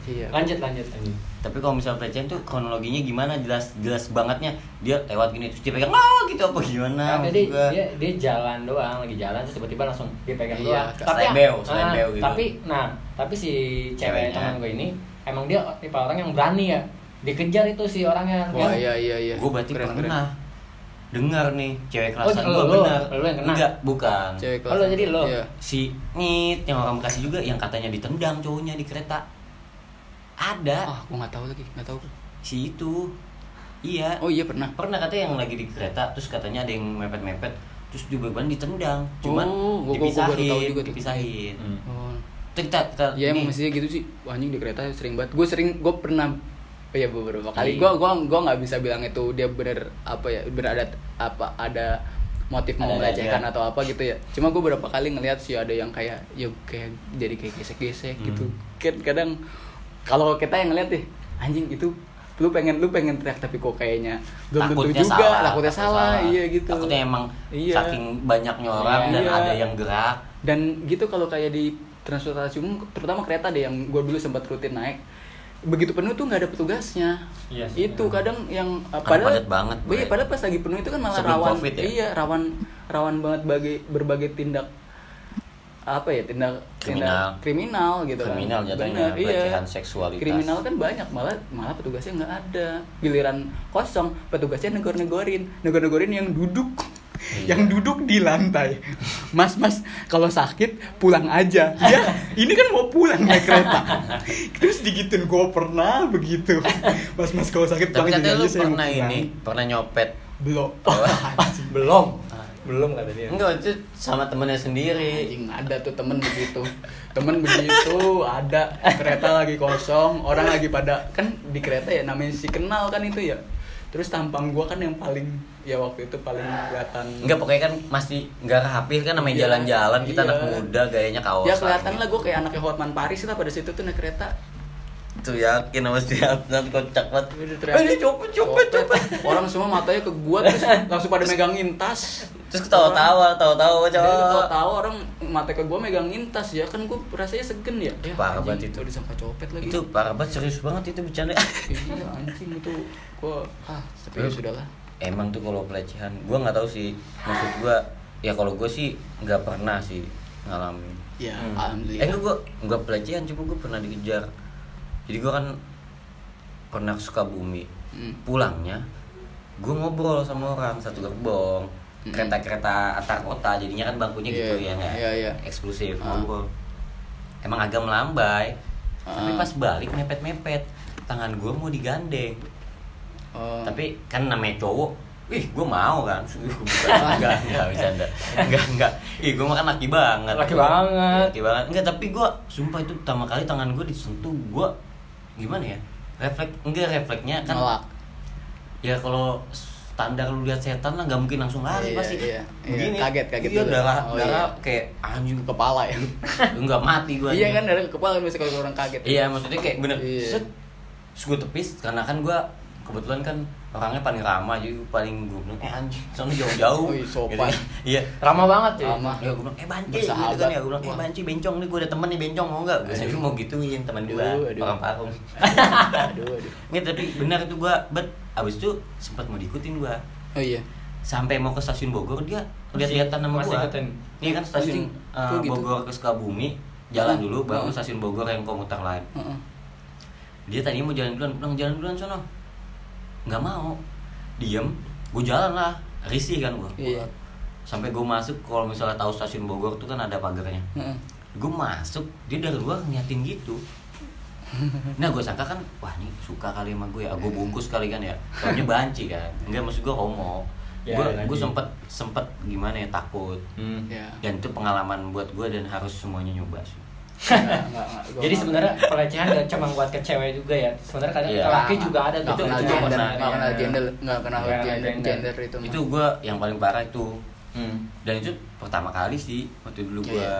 Iya. Lanjut lanjut lanjut. tapi kalau misalnya pelecehan tuh kronologinya gimana jelas jelas bangetnya dia lewat gini terus dipegang oh gitu apa gimana Nah, maksud dia, gua. dia dia jalan doang lagi jalan terus tiba-tiba langsung dipegang Iya, doang. kayak selebeo, selebeo ah, gitu. Tapi nah, tapi si Ceweknya. cewek teman gue ini emang dia tipe orang yang berani ya. Dikejar itu si kan orangnya. Wah, iya Dia- iya iya. Gua berarti Keren, keren. pernah dengar nih cewek Oh, kerasan gua lo- lo- benar lo yang kena? enggak bukan Cewek Oh, lo kelas- jadi lo? Iya. si nit yang orang Bekasi juga yang katanya ditendang cowoknya di kereta ada Ah, gua nggak tahu lagi, nggak tahu. si itu iya Oh iya pernah. pernah katanya yang lagi di kereta terus katanya ada yang mepet-mepet terus juga ban ditendang cuman Oh, gua- gua- gua baru tahu dipisahin juga tuh. dipisahin Hmm. Oh. Itu kita kita Ya nih, emang mestinya gitu sih. Wah, anjing di kereta sering banget. Gue sering, gue pernah Oh iya beberapa kali. Iya. Gue gua gua nggak bisa bilang itu dia bener apa ya bener ada apa ada motif mau Ada-ada melecehkan aja. atau apa gitu ya. Cuma gue beberapa kali ngelihat sih ada yang kayak ya kayak jadi kayak gesek-gesek gitu. Hmm. Kan kadang kalau kita yang ngeliat deh anjing itu lu pengen lu pengen teriak tapi kok kayaknya belum tentu takutnya juga salah takutnya salah, iya gitu takutnya emang Iya. saking banyaknya orang dan Iya. ada yang [LAUGHS] gerak dan gitu kalau kayak di transportasi umum terutama kereta deh yang gue dulu sempat rutin naik begitu penuh tuh nggak ada petugasnya Iya sih, itu kadang yang uh, Karena padat banget, iya, Bre. padahal pas lagi penuh itu kan malah Sebelum rawan Covid ya? iya rawan rawan banget bagi berbagai tindak apa ya tindak Kriminal. tindak kriminal gitu kan. Kriminal jatuhnya, Bener, iya. pelecehan seksualitas. kriminal kan banyak malah malah petugasnya nggak ada giliran kosong petugasnya negor negorin negor negorin yang duduk Iya. yang duduk di lantai mas mas kalau sakit pulang aja ya ini kan mau pulang naik [LAUGHS] kereta terus digituin gue pernah begitu mas mas kalau sakit tapi pulang katanya aja lu saya mau pernah pulang." ini Oh, pernah nyopet belum [LAUGHS] Belum. Belum kata dia. enggak itu sama temennya sendiri Anjing ada tuh temen begitu Temen begitu ada Kereta lagi kosong Orang lagi pada Kan di kereta ya namanya si kenal kan itu ya Terus tampang gua kan yang paling Ya waktu itu paling kelihatan enggak pokoknya kan masih enggak rapih kan namanya Iya. jalan-jalan kita Iya. anak muda gayanya kaosan Ya kelihatan lah gua kayak anaknya Hotman Paris lah pada situ tuh naik kereta tuh yakin sama si Adnan kocak banget Udah teriak. eh dia copet copet copet Orang semua matanya ke gua terus langsung pada megangin tas terus ketawa-tawa tawa-tawa Kalau cowok tahu orang mata ke gua megangin tas ya kan gua rasanya segen ya. ya Parah banget anjing, itu. Udah sampai copet lagi. itu parah banget serius banget itu bercanda [LAUGHS] iya anjing itu gua ah tapi ya sudahlah emang tuh kalau pelecehan gua nggak tahu sih maksud gua ya kalau gua sih nggak pernah sih ngalamin ya Hmm. eh alhamdulillah enggak gua nggak pelecehan cuma gua pernah dikejar jadi gua kan pernah ke Sukabumi Hmm. pulangnya gua ngobrol sama orang satu gerbong Hmm. kereta-kereta antar kota jadinya kan bangkunya Iya, gitu ya nggak iya, iya. eksklusif Ah. ngobrol emang agak melambai tapi Ah. pas balik mepet-mepet tangan gua mau digandeng Oh. tapi kan namanya cowok ih gue mau kan Ih, gua bukan. enggak enggak bercanda enggak enggak ih gue makan laki banget Laki banget. laki banget enggak tapi gue sumpah itu pertama kali tangan gue disentuh gue gimana ya refleks enggak refleksnya kan nolak ya kalau standar lu lihat setan lah nggak mungkin langsung lari Iya, pasti iya, iya. Begini. Kaget, kaget iya dulu. darah Oh, darah iya. kayak anjing [LAUGHS] kepala ya enggak mati gue iya kan dari kepala biasa kalau orang kaget Iya maksudnya kayak bener Iya. set Terus gue tepis karena kan gue kebetulan kan orangnya paling ramah jadi gua paling gue bilang eh anjing soalnya jauh-jauh Wih, kan. sopan. iya Ramah banget cuy. Ramah. Ya gue bilang, eh banci gitu Bersahabat. kan ya Gue bilang, eh banci bencong nih gue ada temen nih bencong mau gak Biasanya gua mau gituin temen gue, Aduh, aduh. orang parung [LAUGHS] aduh aduh Nggak tapi benar itu gue, bet abis itu sempat mau diikutin gue oh iya Sampai mau ke stasiun Bogor dia lihat-lihatan sama masih gue ngikutin. Ini kan stasiun Anjing, eh, kok gitu? Bogor ke Sukabumi Jalan Heeh. dulu, baru Heeh. stasiun Bogor yang komuter lain Heeh. dia tadinya mau jalan duluan bilang jalan duluan sono nggak mau diem gue jalan lah risih kan gue Iya. sampai gue masuk kalau misalnya tahu stasiun Bogor tuh kan ada pagarnya Heeh. gue masuk dia dari luar ngeliatin gitu nah gue sangka kan wah ini suka kali sama gue ya gue bungkus kali kan ya soalnya banci kan enggak maksud gue homo Ya, gue lagi. gue sempet sempet gimana ya takut Hmm. ya dan itu pengalaman buat gue dan harus semuanya nyoba sih Enggak, enggak, enggak. Gua [LAUGHS] Jadi nggak- sebenarnya pelecehan gak cuma buat ke cewek juga ya. Sebenarnya kadang Iya. ke laki juga ada gitu. nggak Itu- kenal itu gender pernah, nggak kenal iya. gender nggak kenal Nggak kenal gender gender. gender itu mah. itu gue yang paling parah itu Hmm. dan itu pertama kali sih waktu dulu Iya, gua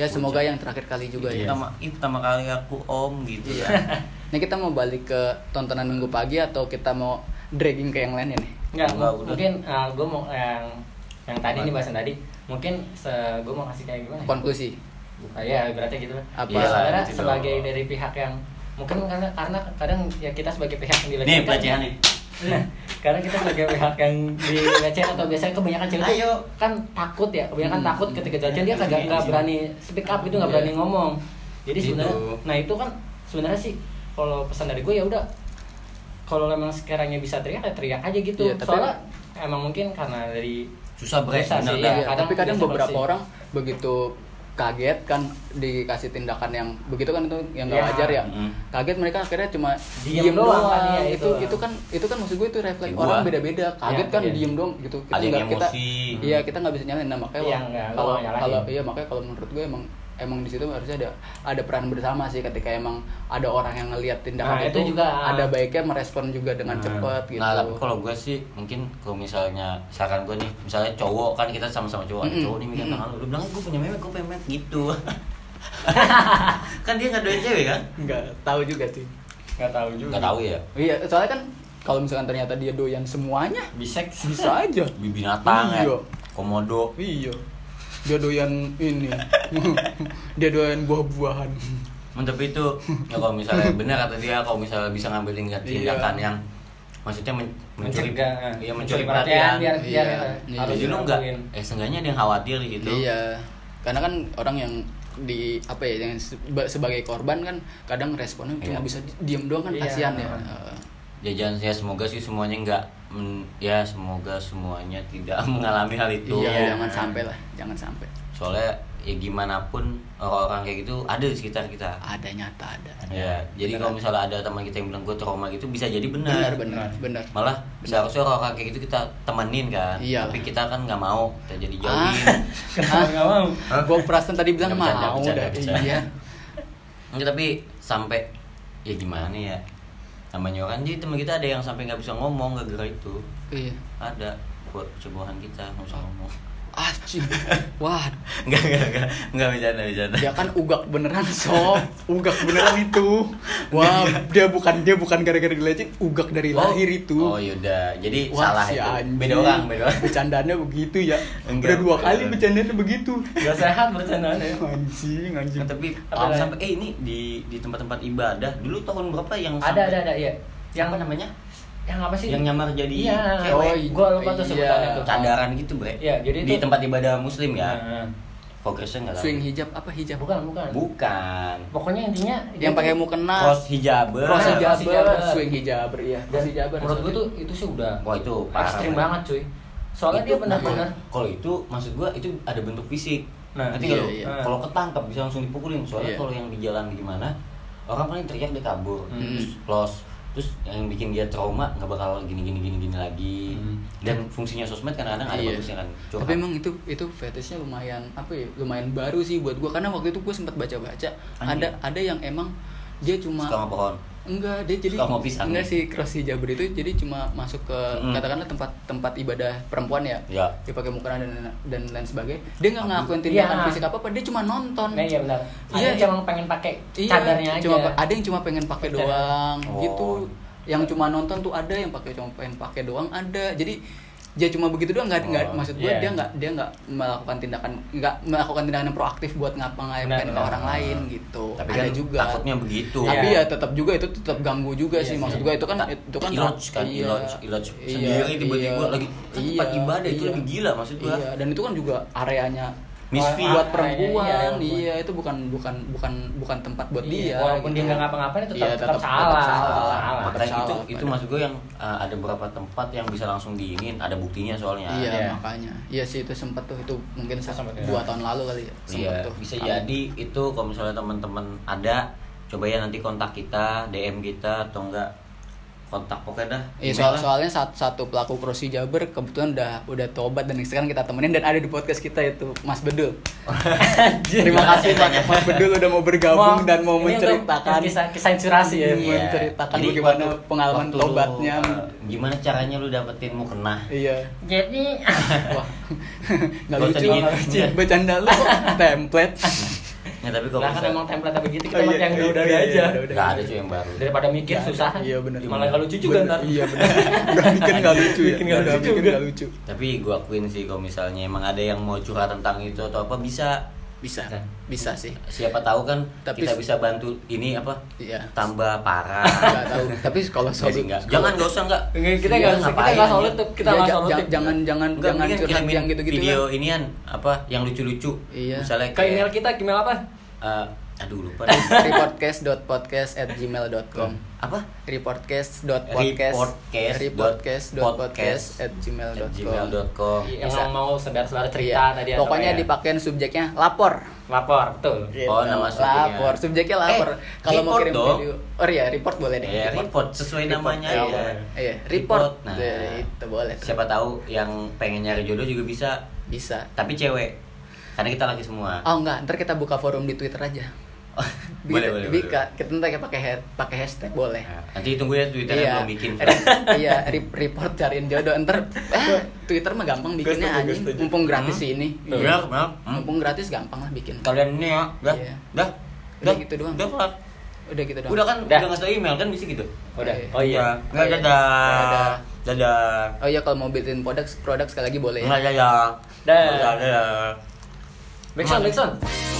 ya semoga yang terakhir kali juga itu ya Iya. pertama itu pertama kali aku om gitu ya Nah kita mau balik ke tontonan minggu pagi atau kita mau dragging ke yang lainnya nih Enggak, Enggak, mu- udah. mungkin gue mau yang yang tadi nih bahasan tadi mungkin gue mau kasih kayak gimana? ya? konklusi Ah, ya berarti gitu lah. Apa? Ya, sebenarnya Gitu sebagai dong. dari pihak yang mungkin karena karena kadang ya kita sebagai pihak yang [LAUGHS] Nih dilecehkan. pelecehan nih. Nah, [LAUGHS] karena kita sebagai pihak yang dilecehkan atau biasanya kebanyakan cewek tuh Ayo. Hmm. Iya, kan takut ya, kebanyakan takut ketika jajan dia kagak nggak berani speak up gitu nggak Iya. berani ngomong. Jadi Gitu. sebenarnya nah itu kan sebenarnya sih kalau pesan dari gue ya udah kalau memang sekarangnya bisa teriak ya teriak aja gitu. Iya, tapi- Soalnya emang mungkin karena dari Susah bre, Susah bener sih, iya. dah. Iya, tapi kadang biasa beberapa bersih. orang begitu kaget kan dikasih tindakan yang begitu kan itu yang Ya. gak wajar ya Mm. kaget mereka akhirnya cuma Diem diem doang kan, iya, itu itu. itu kan itu kan maksud gue itu Ya, refleks gua. orang beda-beda kaget Ya, kan iya. diem dong gitu kita Ada yang nggak kita emosi. iya kita nggak bisa nyalain nah makanya Iya, wah, nggak, lu kalau mau nyalahin. kalau iya makanya kalau menurut gue emang emang di situ harusnya ada ada peran bersama sih ketika emang ada orang yang ngelihat tindakan Nah, itu, itu juga, ah. ada baiknya merespon juga dengan cepat gitu Nah, tapi kalau gue sih mungkin kalau misalnya saran gue nih, misalnya cowok kan kita sama-sama cowok, ada Mm-mm. cowok nih mikir tengah lu, lu bilang gue punya memek, gue pemek [LAUGHS] gitu. kan dia nggak doain cewek kan? nggak tahu juga sih nggak tahu juga. Nggak tahu ya. iya soalnya kan kalau misalkan ternyata dia doyan semuanya Bisex. bisa aja Binatang ya, Iya. komodo. iya dia doyan [LAUGHS] ini dia doyan buah-buahan Hmm, Tapi itu ya kalau misalnya benar kata dia kalau misalnya bisa ngambil tindak- Iya. tindakan yang maksudnya men- mencuri, Mencurigakan. iya, mencuri Mencuri perhatian, perhatian. biar- biar Iya. kita Iya. Harus harus lu nggak, ngelakuin. eh seenggaknya dia khawatir gitu. iya karena kan orang yang di apa ya yang seba- sebagai korban kan kadang responnya Iya. cuma bisa di- diem doang kan Iya. kasihan ya jajan saya semoga sih semuanya nggak men- ya semoga semuanya tidak [LAUGHS] mengalami hal itu iya jangan sampai lah jangan sampai soalnya ya gimana pun orang-orang kayak gitu ada di sekitar kita ada nyata ada ya jadi kalau misalnya ada teman kita yang bilang gue trauma gitu bisa jadi benar benar benar benar malah seharusnya orang-orang kayak gitu kita temenin kan Iya. tapi kita kan nggak mau kita jadi [LAUGHS] ah [LAUGHS] jauhin Kenapa nggak mau? Hah? gue perasaan tadi bilang Nggak bercanda, mau bercanda, dah bercanda. iya Enggak, tapi sampai ya gimana ya namanya orang jadi teman kita ada yang sampai nggak bisa ngomong gak gara itu iya ada buat cebohan kita nggak usah ngomong [LAUGHS] ah cing. wah Enggak, enggak, enggak. Enggak bercanda, bercanda. dia kan ugak beneran sob ugak beneran itu wah dia bukan dia bukan gara-gara dilecet ugak dari lahir itu Oh, yaudah. Jadi Wah, salah si itu. anjing. Beda orang, beda [LAUGHS] orang. [LAUGHS] Bercandanya begitu ya. Enggak, Udah dua beda kali orang. bercandanya begitu. Gak sehat bercandaan ya. Anjing, anjing. Nah, tapi Apa um, lagi? sampai eh ini di di tempat-tempat ibadah dulu tahun berapa yang Ada sampai- ada ada iya. Yang Apa namanya? Yang apa sih? Yang nyamar jadi Iya. cewek. Oh, gua lupa tuh Iya. sebutannya tuh. Cadaran gitu, Bre. Iya, jadi di itu- tempat ibadah muslim ya. Nah, Eh, Fokusnya enggak tahu. Swing hijab apa hijab? bukan, bukan. Bukan. Pokoknya intinya Yang gitu. pakai mukena. Cross hijaber. Cross Cross hijaber. hijaber. Swing hijaber iya. Dan Cross hijaber. Menurut gua tuh itu sih udah Wah, itu parah, ekstrim Bre. banget cuy. Soalnya dia Itu- nah, benar-benar kalau itu maksud gua itu ada bentuk fisik Nah, nanti iya, kalau iya. kalau ketangkap bisa langsung dipukulin soalnya Iya. kalau yang di jalan gimana orang paling teriak dia kabur Hmm. terus los terus yang bikin dia trauma nggak bakal gini gini gini gini lagi Hmm. dan fungsinya sosmed kadang-kadang ada Iya. bagusnya kan curhat. Tapi emang itu itu fetishnya lumayan apa ya? Lumayan baru sih buat gua karena waktu itu gua sempat baca-baca Anjing. ada ada yang emang dia cuma suka sama pohon Enggak, dia jadi Suka mau pisang. enggak sih cross hijab itu jadi cuma masuk ke Mm. katakanlah tempat tempat ibadah perempuan ya. ya Dia pakai mukena dan dan lain sebagainya. Dia nggak Tapi- ngakuin tindakan Iya. fisik apa apa, dia cuma nonton. Nah, iya benar. Ada Iya. yang cuma pengen pakai cadarnya aja. cuma pa- ada yang cuma pengen pakai Cadar. doang Oh. gitu. Yang cuma nonton tuh ada yang pakai cuma pengen pakai doang ada. Jadi dia cuma begitu doang nggak nggak- Oh, maksud gue iya. dia nggak dia nggak melakukan tindakan nggak melakukan tindakan yang proaktif buat ngapa-ngapain Benar, ke benar. orang lain gitu. tapi kan ada juga. takutnya begitu Tapi Iya. ya tetap juga itu tetap ganggu juga Iya sih sih. maksud gue itu kan Tak- itu kan iloj kan iya, iloj iloj iya, sendiri tiba-tiba iya, lagi kan tempat iya, ibadah itu iya. lebih gila maksud gua Ah, Iya, dan itu kan juga areanya Misfit. buat Areanya, perempuan. iya, Iya, areanya perempuan. itu bukan bukan bukan bukan tempat buat Iya, dia. walaupun dia gitu. nggak ngapa-ngapain tetap, Iya, tetap, tetap- salah, tetap salah. tetap salah. Tetap Makanya itu salah, itu padahal. maksud gue yang uh, ada beberapa tempat yang bisa langsung diinin, ada buktinya soalnya. Iya, Iya. makanya. Iya sih itu sempat tuh itu mungkin se- Sempet, iya. dua tahun lalu kali ya. Sempet Iya, tuh. bisa Kalau- jadi itu kalau misalnya teman-teman ada coba ya nanti kontak kita, DM kita atau enggak kontak pokoknya dah. Email Iya, soal- lah. soalnya saat satu pelaku cross hijaber kebetulan udah udah tobat dan sekarang kita temenin dan ada di podcast kita itu Mas Bedul. Terima kasih Mas, Mas Bedul udah mau bergabung dan mau ini untuk menceritakan kisah, kisah inspirasi ya. Iya. menceritakan bagaimana pengalaman lu, tobatnya. uh, gimana caranya lu dapetin mau kena? Iya. Jadi [LAUGHS] Wah. Nggak Gak usah lucu. dingin. Bercanda lu kok template. [LAUGHS] Ya, tapi kalau Nah kan bisa- emang template begitu Oh, kita iya, pakai yang iya, udah dari iya, aja. iya, udah. nggak ada cuy yang baru Daripada mikir Nggak ada. susah. Iya, bener. Malah kalau lucu juga Bener, ntar. Iya benar. Udah bikin nggak lucu ya. Bikin nggak Udah lucu bikin juga. nggak lucu. tapi gua akuin sih kalau misalnya emang ada yang mau curhat tentang itu atau apa bisa Bisa, Kan. bisa sih. siapa tahu kan Tapi- kita bisa bantu ini apa Iya. tambah parah [LAUGHS] Nggak tahu. Tapi kalau Nggak sih, solid, nggak. jangan nggak usah nggak Nggak, kita nggak usah- kita nggak solid tuh, kita nggak jangan, solid. jangan jangan Enggak, jangan mendingan curhat kirimin yang gitu-gitu kan. video lah. inian apa yang lucu-lucu Iya. misalnya Ke email kita, ke email apa? eh, aduh lupa deh. reportcast.podcast@gmail.com apa reportcast.podcast reportcast.podcast@gmail.com gmail.com Oh, Yang Bisa. mau saudara-saudara Iya. cerita tadi. atau Pokoknya Iya. ya. dipakein subjeknya lapor. lapor betul. Oh, nama subjeknya. Lapor, subjeknya lapor. Eh, Kalau mau report kirim dong. video, oh iya, report boleh deh. ya report sesuai Report, namanya iya, ya. boleh. Iya, report. Nah, Iya, itu boleh. siapa tahu yang pengen nyari jodoh juga bisa Bisa. tapi cewek karena kita laki semua Oh enggak, ntar kita buka forum di Twitter aja. [LAUGHS] boleh Ah, Bi- boleh Bika, kita ntar pakai ha- pakai hashtag boleh. boleh. Nah, nanti tunggu ya twitternya belum bikin Re- iya, re- report cariin jodoh. Ntar eh, Twitter mah gampang Gue bikinnya setuju, gue anjing. setuju. Mumpung Ah. gratis Hmm. sih ini. iya maaf Hmm. Mumpung gratis gampang lah bikin. kalian ini ya dah Iya. dah Udah gitu doang. udah kelar. Udah gitu dong. udah kan Dah. udah ngasih tau email kan bisa gitu Udah. Iya. Oh iya. nggak Iya. dadah Dadah. dadah Oh iya kalau mau bikin produk Iya. produk sekali lagi boleh. ya? nggak dadah Dah. dadah Backsound, backsound.